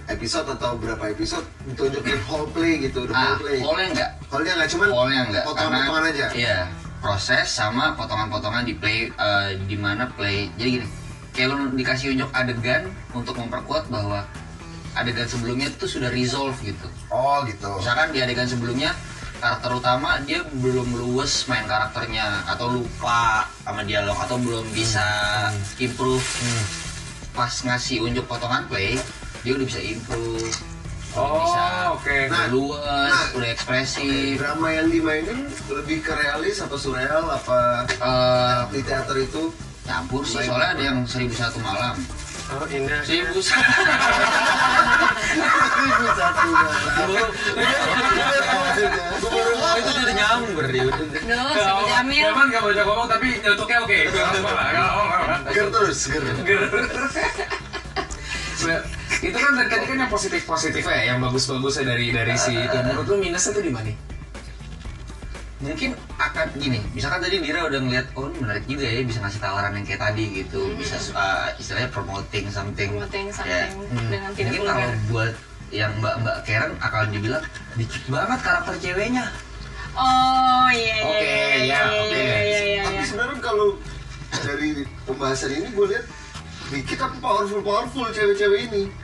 Speaker 5: episode atau berapa episode ditunjukin whole play gitu the
Speaker 3: ah
Speaker 5: whole play
Speaker 3: boleh nggak
Speaker 5: Whole-nya nggak cuman
Speaker 3: polnya enggak
Speaker 5: potongan-potongan
Speaker 3: karena-
Speaker 5: aja
Speaker 3: iya proses sama potongan-potongan di play eh, di mana play jadi gini kayak lu dikasih unjuk adegan untuk memperkuat bahwa adegan sebelumnya itu sudah resolve gitu
Speaker 5: oh gitu
Speaker 3: misalkan di adegan sebelumnya karakter utama dia belum luwes main karakternya atau lupa sama dialog atau belum bisa improve pas ngasih unjuk potongan play dia udah bisa improve
Speaker 4: Oh,
Speaker 3: bisa
Speaker 4: oke.
Speaker 3: nah, luas,
Speaker 5: Nah.
Speaker 3: udah ekspresif.
Speaker 5: drama yang dimainin lebih ke realis apa surreal apa
Speaker 3: Eh,
Speaker 5: di teater itu
Speaker 3: campur sih, soalnya ada yang 1001 malam.
Speaker 6: Oh, indah.
Speaker 3: Seribu
Speaker 5: satu
Speaker 3: itu udah nyambung
Speaker 1: Duh,
Speaker 3: Iya.
Speaker 1: si Jamil.
Speaker 4: Cuman nggak baca ngomong tapi nyetuknya oke. Gue apa lah. nggak apa-apa.
Speaker 5: ger terus ger
Speaker 4: Nah, itu kan dari tadi kan yang positif positifnya ya, yang bagus bagusnya dari dari si itu. Menurut lu minusnya tuh di mana?
Speaker 3: mungkin akan gini misalkan tadi Dira udah ngeliat oh ini menarik juga ya bisa ngasih tawaran yang kayak tadi gitu bisa uh, istilahnya promoting something
Speaker 1: Hmm. Promoting
Speaker 3: Ya.
Speaker 1: something dengan tidak
Speaker 3: mungkin
Speaker 1: vulgar.
Speaker 3: kalau buat yang mbak mbak Karen akan dibilang dikit banget karakter ceweknya
Speaker 1: Oh iya iya
Speaker 4: Oke,
Speaker 1: iya
Speaker 4: ya,
Speaker 1: iya iya
Speaker 4: oke.
Speaker 1: iya iya,
Speaker 5: tapi
Speaker 1: iya.
Speaker 5: sebenarnya kalau dari pembahasan ini gue lihat dikit apa powerful powerful cewek-cewek ini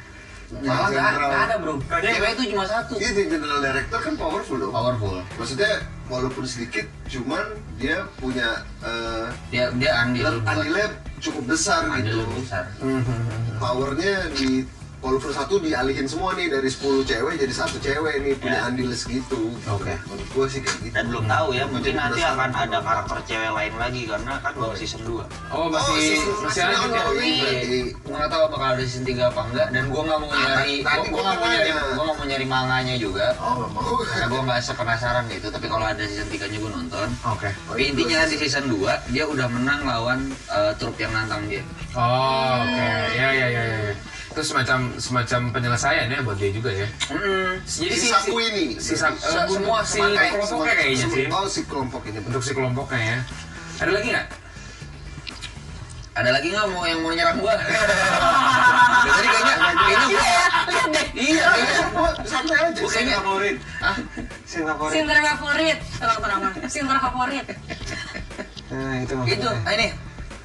Speaker 3: malah nggak
Speaker 5: General.
Speaker 3: nggak ada bro
Speaker 6: Kayaknya-
Speaker 3: cewek itu cuma satu
Speaker 5: Iya, di general director kan powerful dong.
Speaker 3: powerful
Speaker 5: Maksudnya walaupun sedikit, cuman dia punya uh,
Speaker 3: dia dia andil buat-
Speaker 5: andilnya Iya, cukup besar
Speaker 3: andil
Speaker 5: gitu.
Speaker 3: besar
Speaker 5: Powernya di powerful satu dialihin semua nih dari 10 cewek jadi satu cewek nih punya andil segitu.
Speaker 3: Oke.
Speaker 5: Menurut gua sih kayak gitu.
Speaker 8: dan belum tahu ya
Speaker 5: Menjadi
Speaker 8: mungkin nanti
Speaker 5: penasaran
Speaker 8: akan ada
Speaker 5: kenapa.
Speaker 8: karakter cewek lain lagi karena kan baru season 2
Speaker 4: Oh
Speaker 5: Oh,
Speaker 4: masih
Speaker 5: season-
Speaker 4: masih
Speaker 5: masih
Speaker 4: lanjut ya?
Speaker 5: ongoing berarti.
Speaker 3: Iya. Gua nggak tahu bakal ada season 3 apa enggak dan gua nggak mau nyari
Speaker 5: tadi
Speaker 3: gua- gua
Speaker 5: gua
Speaker 3: nggak mau nyari
Speaker 5: nanya.
Speaker 3: gua nggak mau nyari manganya juga
Speaker 5: Oh, nggak mau.
Speaker 3: karena gue nggak sepenasaran gitu tapi kalau ada season 3 nya gue nonton
Speaker 4: Oke.
Speaker 3: tapi Oh, intinya di season 2 dia udah menang lawan eh, trup yang nantang dia
Speaker 4: Oh oke. Ya ya ya ya. ya. Itu semacam semacam penyelesaian ya buat dia juga ya.
Speaker 3: Mm,
Speaker 4: Jadi
Speaker 5: Si
Speaker 4: si
Speaker 5: saku ini.
Speaker 4: si sak-
Speaker 3: Se-
Speaker 4: eh, semua si
Speaker 3: semua kayak-
Speaker 4: kelompoknya kayaknya sih.
Speaker 5: Oh, si kelompok ini.
Speaker 4: Untuk si kelompoknya ya. Ada lagi nggak?
Speaker 3: ada lagi nggak mau yang mau nyerang gue tadi kayaknya kayaknya gue iya kayaknya
Speaker 5: Gua santai aja.
Speaker 3: gue kayaknya
Speaker 6: Favorit.
Speaker 3: ah
Speaker 6: Scene favorit.
Speaker 1: [LAUGHS] Sinter favorit, tolong tolong tolong. Sinter favorit.
Speaker 6: Nah, itu
Speaker 3: itu
Speaker 6: maksudnya.
Speaker 3: ah, ini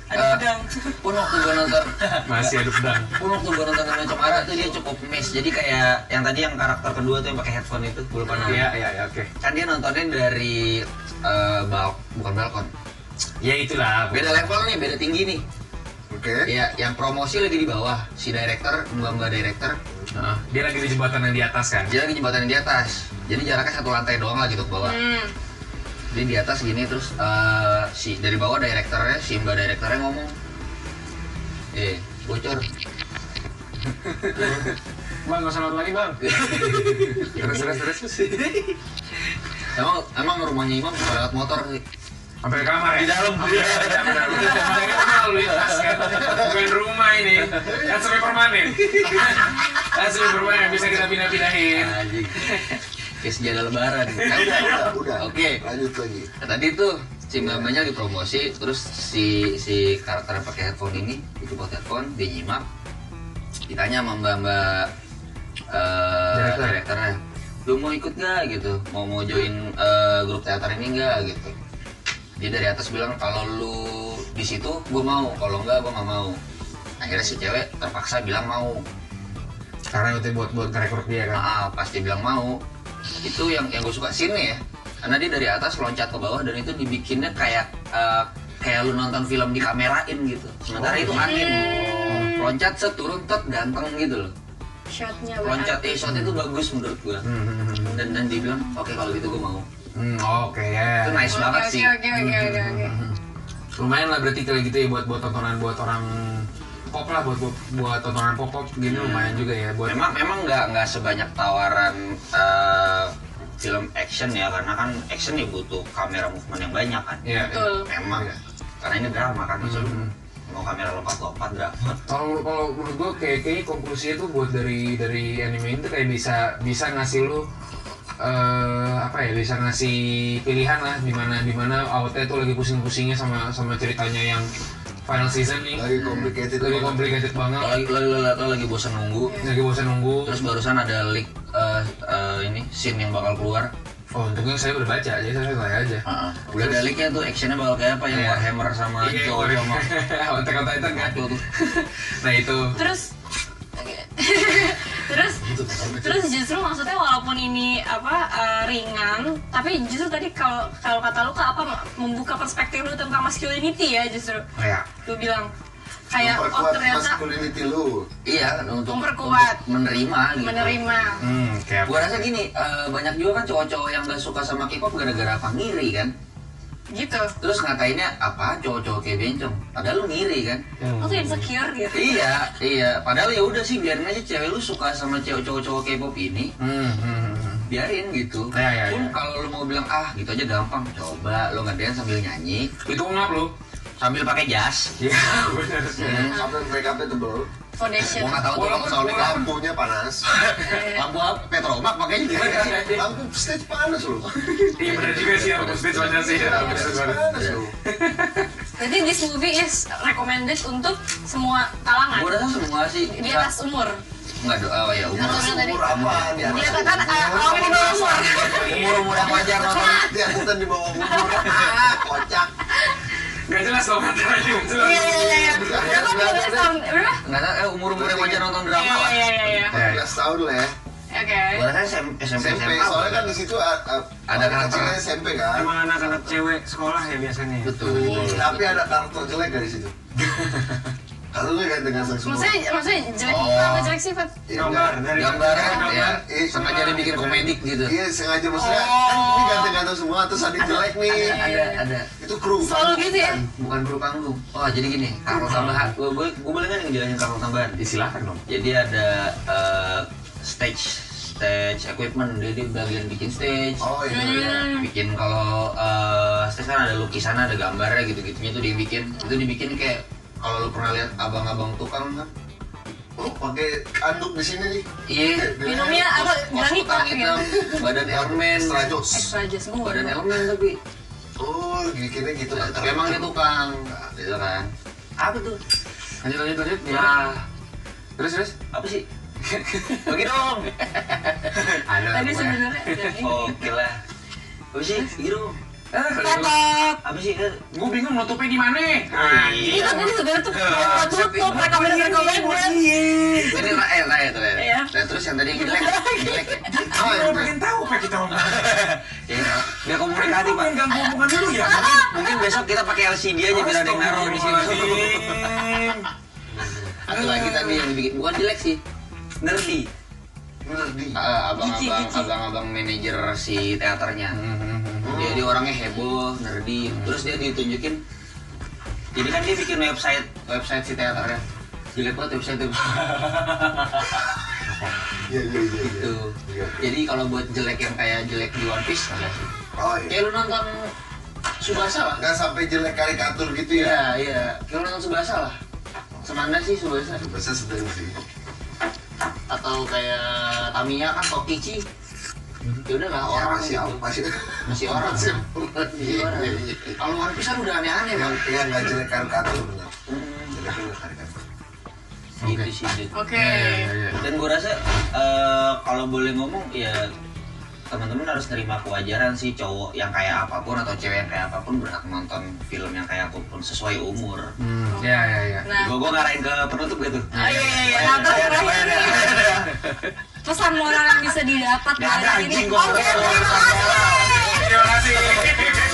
Speaker 1: Ada
Speaker 3: Eh,
Speaker 1: pedang.
Speaker 3: pun waktu gue nonton
Speaker 4: Masih ada pedang.
Speaker 3: pun waktu gue nonton dengan Cemara tuh dia cukup miss jadi kayak yang tadi yang karakter kedua tuh yang pakai headphone itu gue lupa namanya
Speaker 4: Iya iya ya, oke.
Speaker 3: kan dia nontonnya dari eh, bal bukan balkon
Speaker 4: Ya itulah.
Speaker 3: beda level nih beda tinggi nih
Speaker 5: Oke.
Speaker 3: ya yang promosi lagi di bawah si director mbak mbak director
Speaker 4: Heeh. Dia lagi di jembatan yang di atas kan.
Speaker 3: dia lagi jembatan yang di atas jadi jaraknya satu lantai doang lah gitu ke bawah
Speaker 1: Hmm.
Speaker 3: jadi di atas gini terus eh, si dari bawah direkturnya si mbak direkturnya ngomong eh bocor
Speaker 6: Bang, nggak usah nonton lagi, Bang.
Speaker 4: [LAUGHS] Terus terus terus.
Speaker 3: emang emang rumahnya imam suka lewat motor sih
Speaker 4: Sampai ke kamar ya? Di dalam. Iya. Jangan terlalu lintas kan. Bukan rumah ini. Kan sampai [LAUGHS] permanen. Kan sampai permanen bisa kita pindah-pindahin.
Speaker 3: anjing kayak sejadah lebaran
Speaker 5: Udah, udah.
Speaker 3: Oke.
Speaker 5: Lanjut lagi.
Speaker 3: Nah, tadi tuh si mamanya lagi promosi terus si si karakter yang pakai headphone ini itu buat headphone dia nyimak ditanya sama mbak mbak eh,
Speaker 4: Director.
Speaker 3: direkturnya lu mau ikut gak gitu mau mau join eh, grup teater ini gak gitu dia dari atas bilang kalau lu di situ gue mau kalau enggak gue nggak mau akhirnya si cewek terpaksa bilang mau
Speaker 4: Karena itu buat buat ngerekrut dia kan.
Speaker 3: maaf pasti bilang Ah, mau itu yang yang gue suka sini ya karena dia dari atas loncat ke bawah dan itu dibikinnya kayak eh, kayak lu nonton film dikamerain gitu
Speaker 1: Oh,
Speaker 3: sementara
Speaker 1: iya.
Speaker 3: itu angin loncat set turun tet ganteng gitu loh
Speaker 1: Shotnya
Speaker 3: loncat eh shot itu bagus menurut gue dan dan dibilang oke kalau gitu gue mau
Speaker 4: Hmm, oke
Speaker 3: itu
Speaker 4: ya.
Speaker 3: nice banget
Speaker 1: Oke
Speaker 3: sih
Speaker 1: oke oke oke oke.
Speaker 4: Hmm. Lumayan lah berarti kalau gitu ya buat buat tontonan buat orang pop lah buat buat, buat tontonan pop pop gini lumayan juga ya buat
Speaker 3: memang memang nggak nggak sebanyak tawaran eh, film
Speaker 8: action ya karena kan action ya butuh kamera movement yang banyak kan
Speaker 4: Iya.
Speaker 1: Betul.
Speaker 8: memang
Speaker 4: Iya.
Speaker 8: ya? karena ini drama kan maksudnya
Speaker 3: Hmm.
Speaker 8: mau kamera lompat-lompat drama
Speaker 4: Kalau kalau menurut gue kayak kayaknya konklusinya tuh buat dari dari anime itu kayak bisa bisa ngasih lu eh apa ya bisa ngasih pilihan lah dimana dimana awalnya tuh lagi pusing-pusingnya sama sama ceritanya yang final season nih
Speaker 5: Lagi complicated.
Speaker 4: lagi complicated banget
Speaker 3: kalau lagi kalau- kalau- kalau lagi bosan nunggu
Speaker 4: lagi bosan nunggu
Speaker 3: Terus barusan ada leak eh, eh, ini scene yang bakal keluar.
Speaker 4: oh untungnya saya udah baca jadi saya saya aja
Speaker 3: Heeh. udah ada leaknya tuh actionnya bakal kayak apa yang
Speaker 4: Iya.
Speaker 3: Warhammer sama
Speaker 4: Iya,
Speaker 3: Joe
Speaker 4: Warhammer. [LAUGHS]
Speaker 3: sama
Speaker 4: Attack on Titan kan
Speaker 3: Waktu tuh.
Speaker 4: nah itu
Speaker 1: Terus oke. [LAUGHS] terus terus justru maksudnya walaupun ini apa eh, ringan tapi justru tadi kalau kalau kata lu ke apa membuka perspektif lu tentang masculinity ya justru
Speaker 4: kayak
Speaker 1: lu bilang kayak oh
Speaker 5: memperkuat
Speaker 1: ternyata
Speaker 5: masculinity lu
Speaker 3: iya untuk,
Speaker 1: Memperkuat.
Speaker 3: untuk menerima gitu
Speaker 1: menerima
Speaker 2: Hmm, kayak
Speaker 3: Gua rasa gini, eh, banyak juga kan cowok-cowok yang gak suka sama K-pop gara-gara apa ngiri kan.
Speaker 1: gitu
Speaker 3: Terus ngatainnya apa cowok-cowok kayak bencong. Padahal lu ngiri kan.
Speaker 1: lo tuh insecure gitu
Speaker 3: iya, iya. Padahal ya udah sih biarin aja cewek lu suka sama cewek cowok-cowok K-pop ini,
Speaker 2: Hmm, hmm, hmm.
Speaker 3: biarin gitu.
Speaker 2: Iya, iya,
Speaker 3: Pun
Speaker 2: iya.
Speaker 3: kalau lu mau bilang ah gitu aja gampang. Coba lu ngedance sambil nyanyi,
Speaker 4: Itu ngap lu.
Speaker 3: sambil pakai jas.
Speaker 4: Iya, benar.
Speaker 5: sampai make upnya tebel
Speaker 1: foundation
Speaker 3: Gua nggak tahu tuh kamu soal make up.
Speaker 5: lampunya panas
Speaker 3: Lampu apa? Petromak makanya gimana sih?
Speaker 5: lampu stage panas loh
Speaker 4: Iya benar juga sih, aku stage mana sih? Iya, Aku stage mana?
Speaker 5: panas loh
Speaker 1: jadi this movie is recommended untuk semua kalangan
Speaker 3: Gua rasa semua sih.
Speaker 1: di atas umur
Speaker 3: Enggak doa ya umur. [LAUGHS]
Speaker 1: Atas umur tadi.
Speaker 5: umur apa di
Speaker 1: Dia
Speaker 5: atas
Speaker 1: katakan eh, orang
Speaker 5: umur?
Speaker 1: yang di bawah umur
Speaker 3: Umur-umur yang wajar nonton.
Speaker 5: di atas dan di bawah umur kocak
Speaker 4: Gak jelas dong katanya, nggak jelas.
Speaker 1: iya iya iya berapa tuh udah tahun- berapa
Speaker 3: Enggak tahu eh, umur-umur yang wajar nonton drama
Speaker 1: iya
Speaker 3: lah.
Speaker 1: iya iya iya
Speaker 5: 14 tahun lah ya
Speaker 1: oke
Speaker 3: Gua rasa SM- SMP,
Speaker 5: SMP
Speaker 3: SMA,
Speaker 5: soalnya kan di situ a- a-
Speaker 3: Ada
Speaker 5: anak
Speaker 3: karakter.
Speaker 5: kecilnya SMP kan
Speaker 6: Emang anak-anak cewek sekolah ya biasanya ya?
Speaker 3: betul.
Speaker 5: tapi ada karakter jelek dari situ kalau lu kan dengan semua
Speaker 1: maksudnya maksudnya jelek
Speaker 3: Oh.
Speaker 1: apa jelek sifat
Speaker 5: Ya,
Speaker 6: Gambar
Speaker 5: enggak.
Speaker 6: dari
Speaker 3: Gambaran ya,
Speaker 5: Iya,
Speaker 3: sengaja dibikin komedik gitu.
Speaker 5: iya sengaja maksudnya kan ini ganteng-ganteng semua terus ada yang jelek nih
Speaker 3: Ada, ada, ada.
Speaker 5: itu kru
Speaker 1: selalu gitu ya
Speaker 3: Bukan kru panggung. Oh, jadi gini, Karlo tambahan. Gue boleh, gue boleh nggak ngejelasin Karlo tambahan?
Speaker 2: Ya, silakan dong.
Speaker 3: Jadi ada eh, stage, stage equipment. Jadi bagian bikin stage.
Speaker 5: oh iya
Speaker 3: Ya, bikin kalau eh, stage kan ada lukisan ada gambarnya gitu gitunya tuh dibikin itu dibikin kayak kalau lu pernah lihat abang-abang tukang kan
Speaker 5: oh pakai anduk di sini nih
Speaker 3: iya
Speaker 1: minumnya apa
Speaker 3: kos
Speaker 1: bilangin
Speaker 3: tukang
Speaker 1: pak gitu
Speaker 3: hitam badan elemen
Speaker 5: Extra jokes.
Speaker 1: extra aja semua
Speaker 3: badan elemen tapi
Speaker 5: oh bikinnya gitu
Speaker 3: Nah,
Speaker 5: Karakter.
Speaker 3: tapi emang dia tukang gitu kan apa tuh
Speaker 4: Lanjut, lanjut, lanjut.
Speaker 3: ya
Speaker 4: Terus, terus.
Speaker 3: apa sih [LAUGHS] bagi [LAUGHS] dong
Speaker 2: Ada lah
Speaker 1: tadi
Speaker 2: pokoknya.
Speaker 1: sebenarnya jadi
Speaker 3: oke lah apa sih bagi dong
Speaker 4: Eh,
Speaker 1: Tetap.
Speaker 3: apa sih Eh,
Speaker 4: Gue bingung nutupnya di mana.
Speaker 3: Ah, iya.
Speaker 1: Itu tadi sebenarnya tuh kalau tutup rekomendasi rekomendasi.
Speaker 3: ini rakyat rakyat
Speaker 1: Iya.
Speaker 3: rakyat dan eh. terus yang tadi yang
Speaker 1: [LAUGHS]
Speaker 3: jelek jelek ya
Speaker 5: Ah,
Speaker 6: Kalau pengen tahu apa kita ngomong?
Speaker 3: Ya, nggak komunikatif
Speaker 6: Tadi
Speaker 3: pak
Speaker 6: pengen ganggu hubungan dulu ya?
Speaker 3: mungkin besok kita pakai LCD aja biar ada yang naruh di sini
Speaker 6: Astagfirullahaladzim.
Speaker 3: Satu lagi tadi yang dibikin bukan jelek sih nerdy
Speaker 5: nerdi
Speaker 3: Eh,
Speaker 6: Gici,
Speaker 3: abang-abang
Speaker 6: gici.
Speaker 3: abang-abang manajer si teaternya jadi orangnya heboh nerdy terus dia ditunjukin jadi kan dia bikin website website si teaternya jelek banget website itu
Speaker 5: iya iya iya iya.
Speaker 3: [LAUGHS] Gitu. jadi kalau buat jelek yang kayak jelek di One Piece enggak sih.
Speaker 5: oh iya
Speaker 3: kayak lu nonton Subasa lah
Speaker 5: nggak sampai jelek karikatur gitu
Speaker 3: iya
Speaker 5: ya
Speaker 3: iya kayak lu nonton Subasa lah semana sih Subasa
Speaker 5: bahasa sedang sih
Speaker 3: atau kayak Tamiya kan Tokichi ya udah lah
Speaker 5: ya
Speaker 3: orang
Speaker 5: masih
Speaker 3: gitu.
Speaker 5: masih
Speaker 3: masih orang
Speaker 5: masih
Speaker 3: Masih
Speaker 5: iya
Speaker 3: orang.
Speaker 5: iya iya
Speaker 3: kalau One Piece kan udah aneh-aneh
Speaker 5: yang
Speaker 3: bang
Speaker 5: yang nggak jelek karikatur benar jeleknya nggak karikatur
Speaker 3: gitu sih Jun.
Speaker 1: Oke.
Speaker 4: Iya.
Speaker 1: iya.
Speaker 3: dan gue rasa eh, kalau boleh ngomong ya teman-teman harus terima kewajaran sih cowok yang kayak apapun atau cewek yang kayak apapun berhak nonton film yang kayak apapun sesuai umur
Speaker 2: Hmm, ya, ya, ya.
Speaker 1: Nah,
Speaker 3: gue gue ngarahin ke penutup gitu
Speaker 1: oh iya iya iya. Nah, terus terakhir nih. Pesan moral yang bisa didapat
Speaker 3: Nggak ada,
Speaker 1: dari ini.
Speaker 3: anjing, gua
Speaker 1: Oke,
Speaker 3: nggak ada.
Speaker 1: terima kasih.
Speaker 4: Terima kasih.